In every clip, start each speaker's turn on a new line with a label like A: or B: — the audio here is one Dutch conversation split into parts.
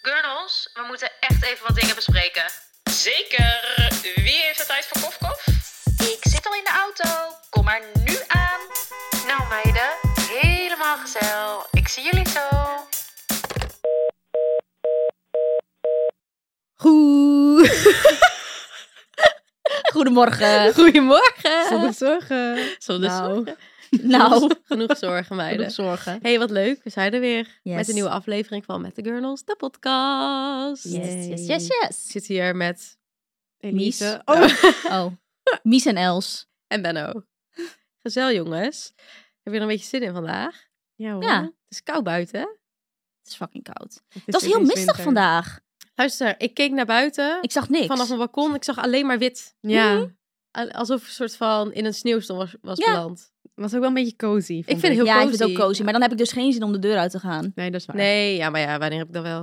A: Gurnels, we moeten echt even wat dingen bespreken.
B: Zeker. Wie heeft de tijd voor kofkof?
A: Ik zit al in de auto. Kom maar nu aan. Nou meiden, helemaal gezellig. Ik zie jullie zo.
C: Goed. Goedemorgen.
D: Goedemorgen.
C: Zonder zorgen.
D: Zonder
C: Nou.
D: zorgen.
C: Nou.
D: Genoeg zorgen, meiden.
C: Genoeg zorgen.
D: hey, wat leuk. We zijn er weer
C: Yes.
D: met een nieuwe aflevering van Met de Girls, de podcast.
C: Yes, yes,
D: Yay.
C: yes,
D: Ik
C: yes.
D: zit hier met Elise
C: Mies. Oh, Mies en Els.
D: en Benno. Gezel, jongens. Hebben jullie er een beetje zin in vandaag?
B: Ja, hoor.
C: Ja,
D: Het is koud buiten. hè?
C: het is fucking koud.
B: Het
C: Het was heel
B: ineens
C: mistig
B: winter.
C: vandaag.
D: Luister, ik keek naar buiten
C: Ik zag niks.
D: vanaf een balkon. Ik zag alleen maar wit. Mm.
B: Ja,
D: Al- Alsof ik een soort van in een sneeuwstorm was, was
C: Ja.
D: beland.
B: was ook wel een beetje cozy. vond
D: Ik vind het heel
C: ja, ik
D: cozy.
C: vind het ook cozy. Maar dan heb ik dus geen zin om de deur uit te gaan.
B: Nee, dat is waar.
D: Nee, ja, maar ja, wanneer heb ik dat wel?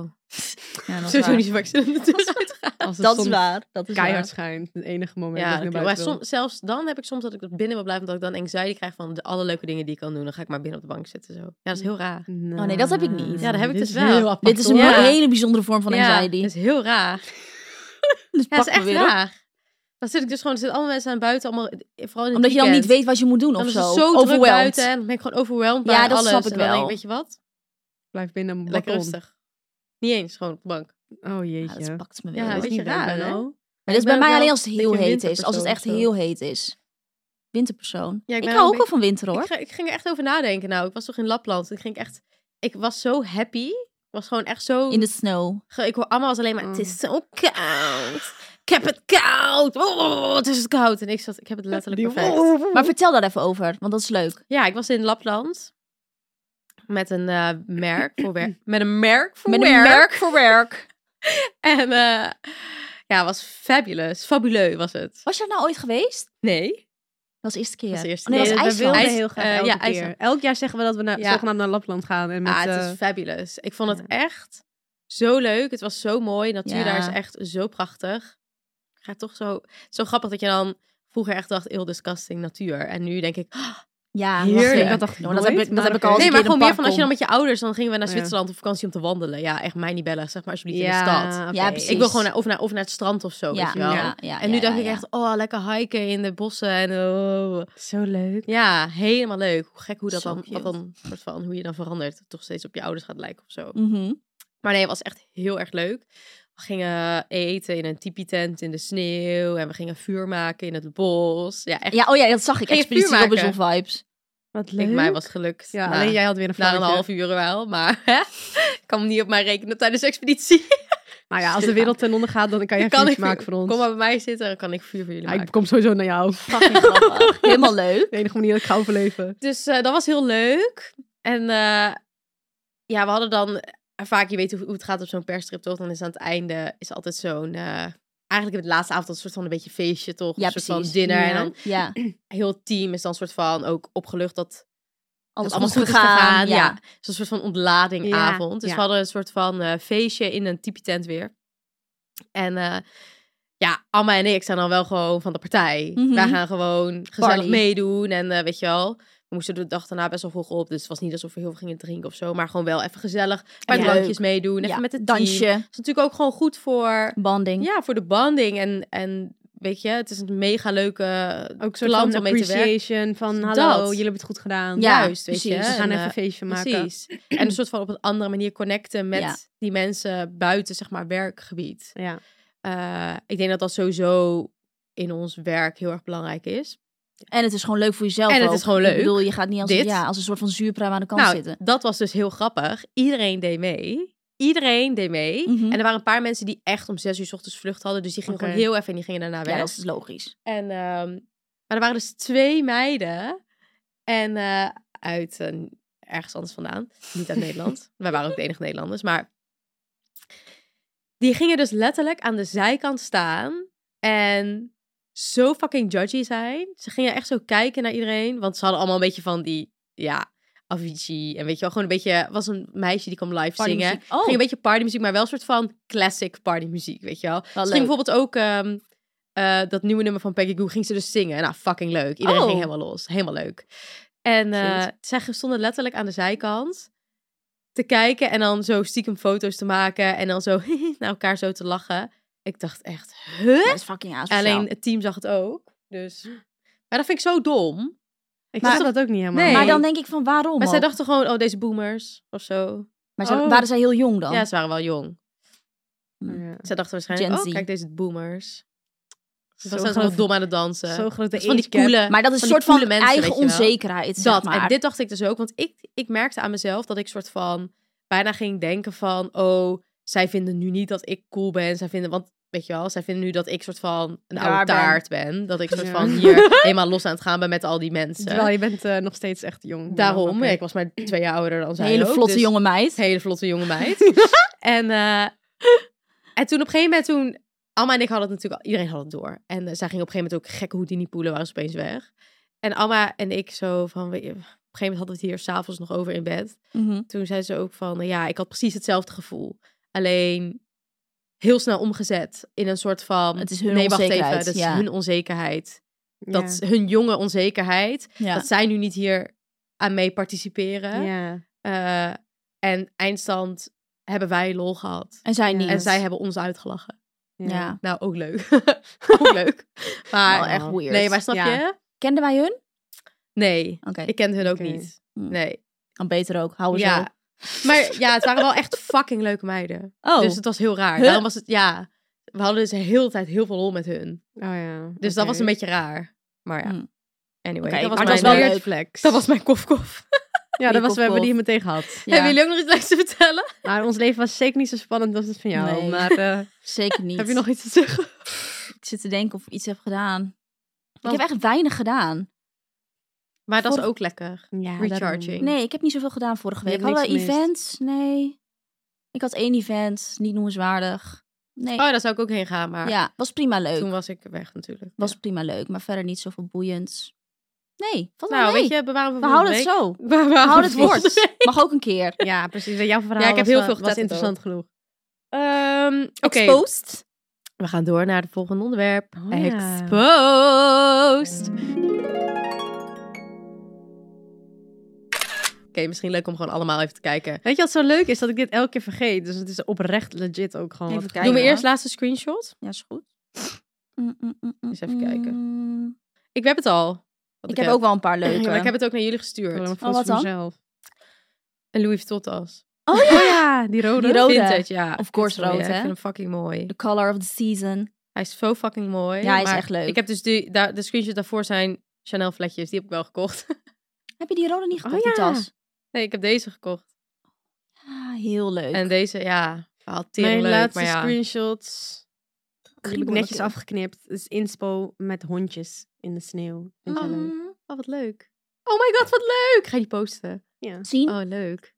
C: Ja, dat
D: Sowieso
C: is waar.
D: niet zo vaak zin om de deur uit te gaan.
B: Als de
C: Dat is
B: zon
C: waar. Dat is
B: Keihard
C: waar.
B: schijnt. Het enige moment
D: Ja,
B: dat ik
D: dat
B: naar
D: klopt. maar
B: buiten wil.
D: soms, zelfs dan heb ik soms dat ik er binnen wil blijven, omdat ik dan anxiety krijg van de alle leuke dingen die ik kan doen. Dan ga ik maar binnen op de bank zitten. Zo. Ja, dat is heel raar.
C: Oh, nee, dat heb ik niet.
D: Ja, dat heb
B: Nou,
D: ik
B: Dit
D: dus
B: is
D: wel.
B: heel apart,
C: Dit is een
B: hoor.
D: Ja.
C: hele bijzondere vorm van
D: ja,
C: anxiety.
D: dat is heel raar.
C: Dus
D: Ja, dat
C: pak
D: is
C: me
D: echt
C: weer op.
D: raar. Dan zit ik dus gewoon, er zitten allemaal mensen aan buiten, allemaal, eh, vooral in het
C: Omdat je dan niet
D: weekend.
C: weet wat je moet doen
D: Dan
C: of
D: is
C: zo.
D: het zo druk
C: Overwhelmed.
D: buiten en dan ben ik gewoon overwhelmed
C: Ja,
D: bij
C: dat
D: alles.
C: snap ik
D: en dan denk
C: wel.
D: weet je wat?
B: Blijf binnen op een
D: Lekker
B: balkon.
D: rustig. Niet eens, gewoon op de bank.
B: Oh
C: Ja,
B: jeetje.
C: dat pakt me weer
D: Ja,
C: op.
D: een
B: dat is
D: beetje
B: niet leuk,
D: raar,
B: hè?
D: hè?
C: Maar
D: Ik
C: dat is bij
D: ben ook
C: mij alleen
D: wel
C: als het
D: een
C: heel
D: beetje een
C: heet is. Als het echt heel
D: winterpersoon
C: heet is. Winterpersoon.
D: Ja, ik
C: ik
D: ben
C: hou
D: wel
C: ook
D: een
C: wel van winter hoor.
D: Ik, ga- ik ging er echt over nadenken nou. Ik was toch in Lapland. Ik ging echt... Ik was zo happy. Ik was gewoon echt zo...
C: In de sneeuw.
D: Ge- Ik hoor allemaal als alleen maar, het
B: Mm.
D: is zo koud. Ik heb het koud. Oh, het is koud. En ik zat, ik heb het letterlijk
B: Die-
D: perfect.
C: Maar vertel daar even over, want dat is leuk.
D: Ja, ik was in Lapland. Met een eh, merk voor werk. Met een merk voor
C: Met
D: werk.
C: een merk voor werk.
D: En eh, ja, het was fabulous. Fabuleux was het.
C: Was je er nou ooit geweest?
D: Nee.
C: Dat was de eerste keer.
D: Dat was de eerste
C: Oh, nee,
D: keer.
C: dat was
B: we wilden
C: IJsland.
D: IJs-
B: heel graag
D: eh,
B: elke
D: ja,
B: keer.
D: IJsland.
B: Elk jaar zeggen we dat we naar,
D: Ja.
B: zogenaamd naar Lapland gaan. En met,
D: ah, het
B: eh,
D: is fabulous. Ik vond het
B: ja.
D: echt zo leuk. Het was zo mooi. De Natuur
C: Ja.
D: daar is echt zo prachtig. Ik ga toch zo... Zo grappig dat je dan vroeger echt dacht, eeuw, disgusting, natuur. En nu denk ik, ah,
C: Ja,
B: Heerlijk.
C: heerlijk.
B: Dat dacht ik
C: Jongen, dat
B: nooit,
C: heb ik, dat
B: maar
C: heb ik
B: oké.
C: al eens
D: nee,
C: een
D: maar
C: keer
D: gewoon
C: in
D: meer
C: een park
D: van als je dan met
C: kom.
D: je ouders, dan gingen we naar
B: Ja.
D: Zwitserland op vakantie om te wandelen. Ja, echt mij niet bellen, zeg maar alsjeblieft in de
B: ja,
D: stad.
B: oké.
C: Ja, precies.
D: Ik wil gewoon naar, of, naar, of naar het strand of zo, weet je wel.
C: Ja, ja,
D: En nu
C: ja,
D: dacht
C: ja,
D: ik
C: ja.
D: echt, oh, lekker hiken in de bossen. En, oh.
B: Zo leuk.
D: Ja, helemaal leuk. Hoe gek hoe dat
C: Zo
D: dan,
C: cute.
D: wat dan, soort van, hoe je dan verandert. Toch steeds op je ouders gaat lijken of zo.
C: Mhm.
D: Maar nee, het was echt heel erg leuk. We gingen eten in een tipi-tent in de sneeuw. En we gingen vuur maken in het bos. Ja, echt.
C: Ja, oh ja, dat zag ik.
D: Ging je vuur
C: Expeditie
D: maken?
C: Robinson vibes.
B: Wat leuk.
D: Ik, mij was gelukt.
B: Ja,
D: Nou,
B: alleen jij had weer een
D: Na
B: flauwtje.
D: een half uur wel, maar hè, ik kan hem niet op mij rekenen tijdens de expeditie.
B: Nou ja, als de wereld ten onder gaat, dan kan jij
D: Dan kan
B: iets
D: ik-
B: maken voor ons.
D: Kom maar bij mij zitten, dan kan ik vuur voor jullie
B: Ja, ik
D: maken.
B: kom sowieso naar jou.
C: Fucking grappig. Helemaal leuk.
B: De enige manier dat ik ga overleven.
D: Dus eh, dat was heel leuk. En eh, ja, we hadden dan eh, vaak, je weet hoe, hoe het gaat op zo'n perstrip, toch? Dan is aan het einde is altijd zo'n... eh, Eigenlijk op de laatste avond een soort van een beetje feestje, toch?
C: Ja,
D: een soort
C: precies.
D: van dinner.
B: Ja.
D: En dan
C: Ja,
D: heel het team is dan soort van ook opgelucht dat
C: alles
D: allemaal
C: goed gegaan.
D: ja.
C: ja.
D: Dus een soort van ontladingavond.
B: Ja,
D: dus
B: ja.
D: we hadden een soort van eh, feestje in een type tent weer. En eh, ja, Amma en ik zijn dan wel gewoon van de partij.
C: Mhm.
D: Wij gaan gewoon gezellig
C: Party.
D: meedoen. En eh, weet je wel, we moesten de dag daarna best wel vroeg op. Dus het was niet alsof we heel veel gingen drinken of zo. Maar gewoon wel even gezellig. Een paar
C: Ja.
D: drankjes meedoen. Even
C: Ja,
D: met het team.
C: Dansje,
D: is natuurlijk ook gewoon goed voor,
C: banding.
D: ja, voor de banding. En, en weet je, het is een mega leuke
B: Ook
D: soort
B: zo'n
D: van
B: appreciation van
D: Dat.
B: hallo, jullie hebben het goed gedaan.
C: Ja,
D: juist, weet je.
C: precies.
B: We gaan
D: En,
B: even
D: eh,
B: een feestje maken.
D: Precies. En een soort van op een andere manier connecten met
C: Ja.
D: die mensen buiten, zeg maar, werkgebied.
B: Ja.
D: Eh, ik denk dat dat sowieso in ons werk heel erg belangrijk is.
C: En het is gewoon leuk voor jezelf
D: En het
C: ook.
D: is gewoon
C: Ik
D: leuk.
C: bedoel, je gaat niet als,
D: Dit.
C: ja, als een soort van zuurpruim aan de kant
D: nou,
C: zitten.
D: dat was dus heel grappig. Iedereen deed mee. Iedereen deed mee.
C: Mhm.
D: En er waren een paar mensen die echt om zes uur 's ochtends vlucht hadden. Dus die gingen
B: Oké.
D: gewoon heel even en die gingen daarna weg.
C: Ja, dat is logisch.
D: En, ehm, maar er waren dus twee meiden. En eh, uit een- ergens anders vandaan. Niet uit Nederland. Wij waren ook de enige Nederlanders. Maar die gingen dus letterlijk aan de zijkant staan. En zo fucking judgy zijn. Ze gingen echt zo kijken naar iedereen. Want ze hadden allemaal een beetje van die, ja, Avicii. En weet je wel, gewoon een beetje... was een meisje die kwam live zingen.
C: Partymuziek. Oh,
D: Ging een beetje partymuziek, maar wel een soort van classic partymuziek, weet je wel.
C: wel
D: Ze
C: leuk.
D: ging bijvoorbeeld ook ehm, eh, dat nieuwe nummer van Peggy Goo ging ze dus zingen. Nou, fucking leuk. Iedereen
C: Oh.
D: ging helemaal los. Helemaal leuk. En eh
C: Cute.
D: zij stonden letterlijk aan de zijkant.
E: te kijken en dan zo stiekem foto's te maken en dan zo naar elkaar zo te lachen. Ik dacht echt, huh?
C: Dat is fucking asociaal.
E: Alleen het team zag het ook. Dus. Maar dat vind ik zo dom. Ik
C: Maar-
E: snap dat ook niet helemaal.
C: Maar dan denk ik van waarom
E: Maar zij
C: ook?
E: dachten gewoon, oh, deze boomers of zo.
C: Maar zij-
E: oh.
C: waren zij heel jong dan?
E: Ja, ze waren wel jong.
C: Hmm.
E: Zij dachten
C: Gen
E: waarschijnlijk,
C: Z.
E: oh, kijk, deze boomers. Ze
D: Zo'n
E: waren
D: groot-
E: nog dom aan het dansen.
D: Zo'n grote
E: Dat is van die
D: age gap.
E: coole.
C: Maar dat is een
E: die
C: soort van
E: coole mensen,
C: eigen
E: weet je wel.
C: onzekerheid, zeg
E: dat.
C: maar.
E: En dit dacht ik dus ook, want ik, ik merkte aan mezelf dat ik soort van bijna ging denken van, oh, zij vinden nu niet dat ik cool ben. Zij vinden, want weet je wel, zij vinden nu dat ik soort van een
D: Raar
E: oude
D: ben.
E: taart ben. Dat ik soort
D: Ja.
E: van hier helemaal los aan het gaan ben met al die mensen.
D: Terwijl je bent eh, nog steeds echt jong.
E: Daarom,
D: Oké.
E: ik was maar twee jaar ouder dan
C: Een
E: zij
C: hele
E: ook,
C: vlotte
E: dus-
C: jonge meid.
E: Hele vlotte jonge meid. en, eh, en toen op een gegeven moment, toen... Alma en ik hadden het natuurlijk, al- iedereen had het door. En eh, zij ging op een gegeven moment ook gekke houdini poelen, waren ze opeens weg. En Alma en ik zo van, weet je, op een gegeven moment hadden we het hier s'avonds nog over in bed.
C: Mhm.
E: Toen zei ze ook van, eh, ja, ik had precies hetzelfde gevoel. Alleen heel snel omgezet in een soort van...
C: Het is hun
E: nee, wacht even,
C: onzekerheid,
E: dat is
C: ja.
E: hun onzekerheid.
D: Ja.
E: Dat is hun jonge onzekerheid.
C: Ja.
E: Dat zij nu niet hier aan mee participeren.
D: Ja.
E: Eh, en eindstand hebben wij lol gehad.
C: En zij
D: Ja.
C: niet.
E: En zij hebben ons uitgelachen.
C: Ja.
E: Nou, ook leuk. ook leuk. Maar
C: Wel Nou, echt weird.
E: Oh. Nee, maar snap
D: Ja.
E: je?
C: Kenden wij hun?
E: Nee,
C: Oké.
E: ik kende hun ook
D: Oké.
E: niet.
C: Hm.
E: Nee.
C: Kan beter ook. Hou eens
E: Ja. Maar ja, het waren wel echt fucking leuke meiden.
C: Oh.
E: Dus het was heel raar.
C: Huh?
E: Daarom was het, ja. We hadden dus de hele tijd heel veel lol met hun.
D: Oh ja.
E: Dus dat was een beetje raar. Maar ja,
C: Hm.
E: anyway.
C: Oké,
E: dat was
C: maar
E: mijn,
C: het was wel
E: eh,
C: leuk.
D: flex.
E: Dat was mijn kofkof.
D: ja, dat was, we hebben
C: koffie.
D: die meteen gehad.
C: Ja.
E: Hebben jullie ook nog iets leuks te vertellen?
D: Maar ons leven was zeker niet zo spannend als het van jou.
E: Nou,
C: Nee.
D: Maar eh,
C: Zeker niet.
D: heb je nog iets te zeggen?
C: Ik zit te denken of ik iets heb gedaan. Ik
E: Want-
C: heb echt weinig gedaan.
E: Maar dat is
C: Voor-
E: ook lekker.
D: Ja,
E: Recharging.
C: Nee, ik heb niet zoveel gedaan vorige
D: Je
C: week.
D: hebt
C: Hadden we
D: niks gemist.
C: events? Nee. Ik had één event. Niet noemenswaardig. Nee.
E: Oh, daar zou ik ook heen gaan, maar
C: ja, was prima leuk.
E: toen was ik weg natuurlijk.
C: Was
E: Ja.
C: prima leuk, maar verder niet zoveel boeiends. Nee, valt
E: Nou,
C: wel mee.
E: weet je, bewaren we
C: we
E: voor
C: houden het
E: volgende
C: zo.
E: week. We
C: We houden
E: houden
C: het woord. Mag ook een keer.
D: Ja, precies. Jouw verhaal
E: Ja, ik heb
D: was
E: heel
D: wel-
E: veel
D: was
E: getetterd
D: interessant genoeg.
E: Ehm, Oké,
C: Exposed.
E: we gaan door naar het volgende onderwerp.
D: Oh, ja.
E: Exposed. Oké, misschien leuk om gewoon allemaal even te kijken.
D: Weet je wat zo leuk is? Dat ik dit elke keer vergeet. Dus het is oprecht legit ook gewoon.
C: Even
D: wat-
C: kijken.
E: Doe me
C: hoor.
E: eerst laatste screenshot.
C: Ja, is goed. Mm, mm, mm, mm,
E: Eens even kijken.
C: mm.
E: Ik heb het al. wat
C: Ik heb ook wel een paar
E: Ja,
C: leuke. Oh,
E: maar ik heb het ook naar jullie
D: Ik wil
E: gestuurd.
D: hem vast
C: wat
D: voor
C: dan?
D: mezelf.
E: Een Louis Vuitton tas.
C: Oh
D: Oh
C: ja!
D: ja, die rode.
C: Die rode.
E: Vintage, ja.
C: Of course
E: Sorry,
C: rood,
E: Ik
C: hè?
E: vind hem fucking mooi.
C: The color of the season.
E: Hij is zo fucking mooi.
C: Ja, hij is
E: maar
C: echt leuk.
E: Ik heb dus die, daar, de screenshot daarvoor zijn Chanel vletjes. Die heb ik wel gekocht.
C: Heb je die rode niet
D: Oh
C: gekocht, die
D: ja.
C: tas?
E: nee, ik heb deze gekocht.
C: Ah, heel leuk.
E: En deze, ja, al tering
D: Mijn
E: leuk,
D: laatste
E: maar ja.
D: screenshots. Die heb ik
C: Kriebel
D: netjes
C: natuurlijk.
D: afgeknipt. Het is inspo met hondjes in de sneeuw. Vind je leuk?
C: Mm.
E: Oh, wat leuk. Oh my god, wat leuk! Ga je die posten?
D: Ja.
C: Zien?
E: Oh, leuk.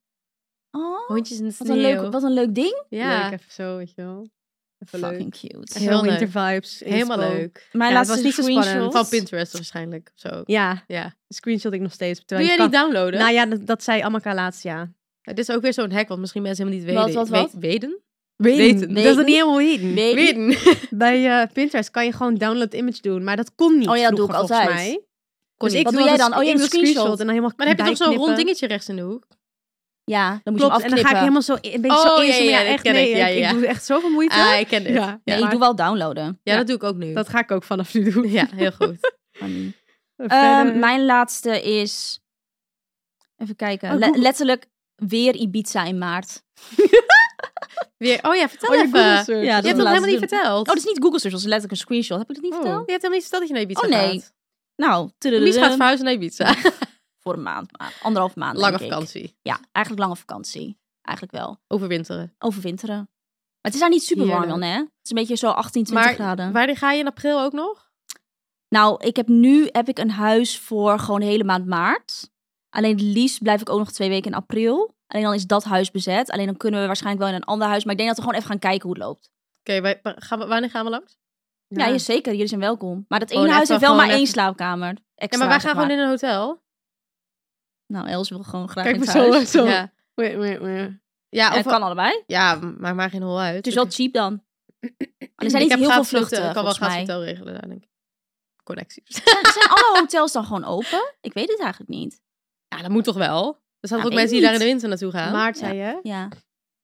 C: Oh,
E: Hondjes in de
C: wat,
E: sneeuw.
C: een leuk, wat een leuk ding.
E: ja,
D: Leuk, even zo, weet je wel. Even leuk.
C: Fucking cute.
E: Heel
D: Heel
E: leuk.
D: winter vibes. inspo.
E: helemaal leuk.
C: Mijn
D: Ja, het
C: laatste
D: was niet zo spannend.
C: screenshot.
E: Van Pinterest waarschijnlijk, of zo.
D: Ja,
E: Ja.
D: screenshot ik nog steeds.
E: Wil
D: Terwijl
E: jij
D: je
E: die
D: kan-
E: downloaden?
D: Nou ja, dat, dat zei Amaka laatst, ja.
E: Dit is ook weer zo'n hack, want misschien mensen helemaal niet
C: Wat,
E: weten.
C: wat, wat?
E: we- Weten?
D: Weten. Dat is
C: Weten.
D: niet helemaal weten.
C: Weten.
D: Bij eh, Pinterest kan je gewoon download image doen, maar dat kon niet
C: Oh ja, dat doe
D: vroeger,
C: ik
D: volgens
C: altijd.
D: Mij.
E: Kon
D: dus
E: niet.
D: ik doe
C: Wat doe jij
D: altijd-
C: dan? Oh, je
D: ik
C: hebt
D: doe
C: een screenshot.
D: en dan helemaal
E: Maar dan heb je toch zo'n rond
D: bijknippen.
E: dingetje rechts in de hoek?
C: Ja, dan moet
D: Klopt,
C: je
D: en dan ga
C: hem
D: ik
C: afknippen.
D: helemaal zo een beetje
E: Oh,
D: oh,
E: ja, ja,
D: ja,
E: dat
D: echt
E: ken
D: nee,
E: ik, ja,
D: ik-
E: ja.
D: Ik doe echt zoveel moeite.
E: Ah, ik ken dit. Ja,
D: Ja.
E: ja.
C: Nee, ik doe wel downloaden.
D: ja.
E: dat doe ik ook nu.
D: Dat ga ik ook vanaf nu doen.
E: Ja, heel goed.
C: Maar niet.
D: Eh, Verder-
C: Ehm, mijn laatste is. Even kijken.
D: Oh,
C: Le-
D: Google.
C: letterlijk weer Ibiza in maart.
E: Weer, oh ja, vertel
D: Oh, je
E: even.
D: Google search.
E: je
C: Ja,
E: hebt
C: dat
E: dat
C: laatste
E: helemaal niet
C: doen.
E: verteld.
C: Oh, dat is niet Google Search, dat is letterlijk een screenshot. Heb ik dat niet
D: Oh.
C: verteld?
E: Je hebt helemaal niet verteld dat je naar Ibiza
C: Oh, nee.
E: gaat.
C: Nou,
E: Mies gaat
C: tudududu.
E: verhuizen naar Ibiza.
C: voor een maand, maar anderhalf maand.
E: Lange
C: denk ik.
E: vakantie.
C: Ja, eigenlijk lange vakantie. Eigenlijk wel.
E: Overwinteren.
C: Overwinteren. Maar het is daar niet super warm dan,
D: Heerlijk.
C: hè? Het is een beetje zo 18, 20
E: Maar
C: graden.
E: Waar ga je in april ook nog?
C: Nou, ik heb nu heb ik een huis voor gewoon de hele maand maart. Alleen het liefst blijf ik ook nog twee weken in april. Alleen dan is dat huis bezet. Alleen dan kunnen we waarschijnlijk wel in een ander huis. Maar ik denk dat we gewoon even gaan kijken hoe het loopt.
E: Oké, wij- wa- gaan we- wanneer gaan we langs?
C: Ja, je- zeker. Jullie zijn welkom. Maar dat ene
E: Gewoon
C: huis
E: even
C: heeft wel
E: gewoon
C: maar één
E: even-
C: slaapkamer. Extra,
E: Ja, maar wij
C: zeg
E: gaan gewoon in een hotel.
C: Nou, Els wil gewoon graag
D: Kijk
C: in het
D: maar zo,
C: huis.
D: zo.
E: Ja,
D: Wait, wait, wait.
E: ja,
C: Ja,
E: of,
C: het kan allebei.
E: ja, maak maar geen hol uit.
C: Het is wel cheap dan. Maar er zijn
E: Ik
C: niet heel
E: heb
C: veel
E: gratis
C: vluchten,
E: Ik kan wel
C: volgens
E: gratis
C: mij.
E: hotel regelen, daar denk ik. Connecties.
C: Zijn alle hotels dan gewoon open? Ik weet het eigenlijk niet.
E: Ja, dat moet toch wel? Er staan
C: Ja,
E: ook
C: weet
E: mensen die daar in
C: niet.
E: de winter naartoe gaan.
D: Maart, zei je?
C: Ja.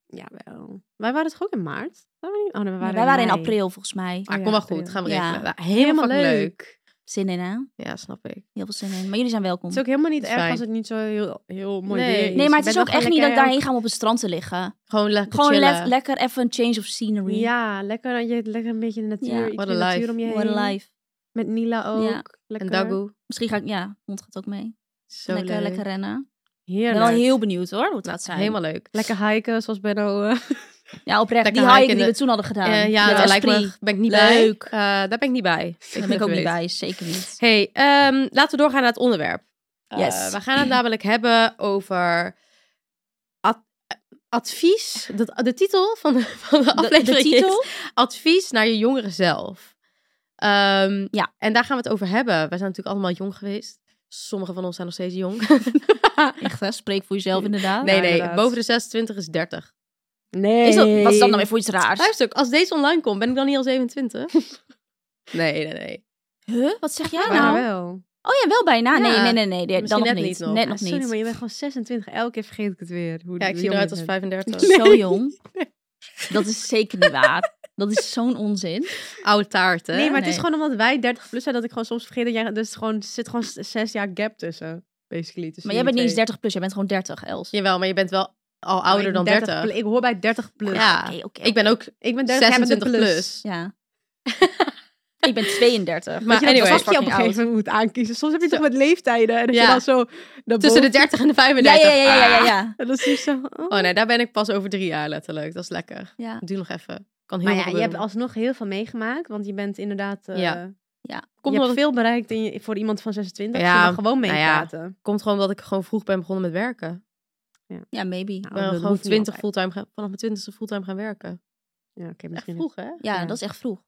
D: Jawel. Wij waren toch ook in maart? Waren we niet- Oh, nee, we waren
C: wij waren in
D: mei.
C: april volgens mij.
E: Maar
D: Oh
E: Ah, kom
D: ja,
E: wel goed,
D: tuurlijk.
E: gaan we
C: Ja.
E: regelen. Nou, Helemaal,
D: Helemaal
E: fucking
D: leuk.
E: leuk.
C: Zin in, hè?
E: Ja, snap ik.
C: Heel veel zin in. Maar jullie zijn welkom.
D: Het is ook helemaal niet
E: Is
D: erg
E: fijn.
D: als het niet zo heel, heel mooi
E: Nee.
D: weer is.
C: Nee, maar het
D: Je
C: is
D: bent
C: ook
D: wel
C: echt niet dat ik
D: gewoon
C: daarheen ga om op het strand te liggen.
E: Gewoon lekker
C: Gewoon
E: chillen.
C: le- lekker even een change of scenery.
D: lekker- Ja, lekker, dat je, lekker een beetje de natuur,
C: Ja.
D: iets
E: What
D: meer
E: a life.
D: natuur om je heen.
C: What a life.
D: Met Nila ook.
C: Ja.
E: en
D: Lekker.
E: Dagoe.
C: Misschien ga ik, ja, hond gaat ook mee.
E: Zo
C: lekker,
E: leuk.
C: lekker rennen. Ik ben
D: Heerlijk.
C: wel heel benieuwd hoor, hoe het gaat zijn.
E: Helemaal leuk.
D: Lekker hiken, zoals Benno. eh,
C: Ja, oprecht.
E: Lekker
C: die
E: hiken
C: hiking die
E: in
C: we
E: de-
C: toen hadden gedaan.
E: Eh, ja,
C: Met
E: daar lijkt
C: Esprit.
E: me, ben ik niet
C: Leuk.
E: bij. Eh, daar ben ik niet bij.
C: Daar ben
E: moet
C: ik ook niet
E: weten.
C: bij, zeker niet.
E: hey, ehm, laten we doorgaan naar het onderwerp. Eh,
C: Yes.
E: we gaan het namelijk hebben over ad- eh, advies. De, de titel van de, van de
C: De- de
E: aflevering is
C: titel?
E: advies naar je jongeren zelf. Ehm,
C: Ja.
E: En daar gaan we het over hebben. Wij zijn natuurlijk allemaal jong geweest. Sommigen van ons zijn nog steeds jong.
C: Echt hè, spreek voor jezelf inderdaad.
E: nee,
D: Ja,
E: nee.
D: inderdaad.
E: Boven de 26 is 30.
D: Nee.
C: Is dat, wat is dat nou weer voor iets raars?
E: Luister, als deze online komt, ben ik dan niet al 27? nee, nee, nee.
C: Huh? Wat zeg jij
D: Maar
C: nou?
D: wel.
C: Oh ja, wel bijna. Nee,
E: Ja.
C: nee, nee. nee, nee
E: Misschien
C: dan nog
E: net
C: niet.
E: niet nog.
C: Net
D: Ah,
C: nog
D: sorry,
C: niet.
D: maar je bent gewoon 26. Elke keer vergeet ik het weer. Hoe
E: Ja, ik zie
D: jong
E: eruit
D: je
E: als
D: bent.
E: 35.
C: Zo jong. Dat is zeker niet waar. Dat is zo'n onzin.
E: Oude taart, hè?
D: Nee, maar het is
C: Nee.
D: gewoon omdat wij 30 plus zijn dat ik gewoon soms vergeet dat jij... Dus het gewoon, er zit gewoon s- zes jaar gap tussen, basically. tussen
C: Maar jij bent niet
D: jullie twee.
C: eens 30 plus, jij bent gewoon 30, Els.
E: Jawel, maar je bent wel al ouder
D: Ik
E: dan
D: ben
E: 30.
D: plu- Ik hoor bij 30 plus.
E: Ja,
C: Oké, oké.
E: ik ben ook...
D: Ik ben 30 jij bent
E: 26
D: een
E: plus.
C: Ja. ik ben 32.
E: Maar
D: Maar
E: anyway,
D: dat je op een
C: fucking
D: gegeven moment moet aankiezen. Soms heb je toch met leeftijden en dat
E: Ja.
D: je dan zo... naar
E: Tussen de
D: boven-
E: 30 en de
C: Ja,
E: 35.
C: ja, ja, ja, ja,
E: Ah.
C: ja.
D: En dan zie je zo... oh.
E: Oh nee, daar ben ik pas over drie jaar letterlijk. Dat is lekker.
C: ja.
E: Doe nog even. Kan heel
D: Maar
E: veel
D: ja, je hebt
E: gebeuren.
D: alsnog heel veel meemaakt, want je bent inderdaad... eh,
E: Ja.
D: Je
E: komt, omdat
D: hebt
E: ik-
D: veel bereikt in je- voor iemand van 26.
E: Ja,
D: Ja, gewoon
E: nou ja.
D: meepraten.
E: komt gewoon omdat ik gewoon vroeg ben begonnen met werken.
C: Ja, maybe.
D: Nou,
E: Ik ben
D: dat
E: gewoon
D: hoeft niet
E: 20
D: altijd.
E: fulltime gaan, vanaf mijn 20 fulltime gaan werken.
D: Ja, oké,
E: Echt
D: misschien.
E: vroeg, hè?
C: Ja,
D: Ja.
C: dat is echt vroeg.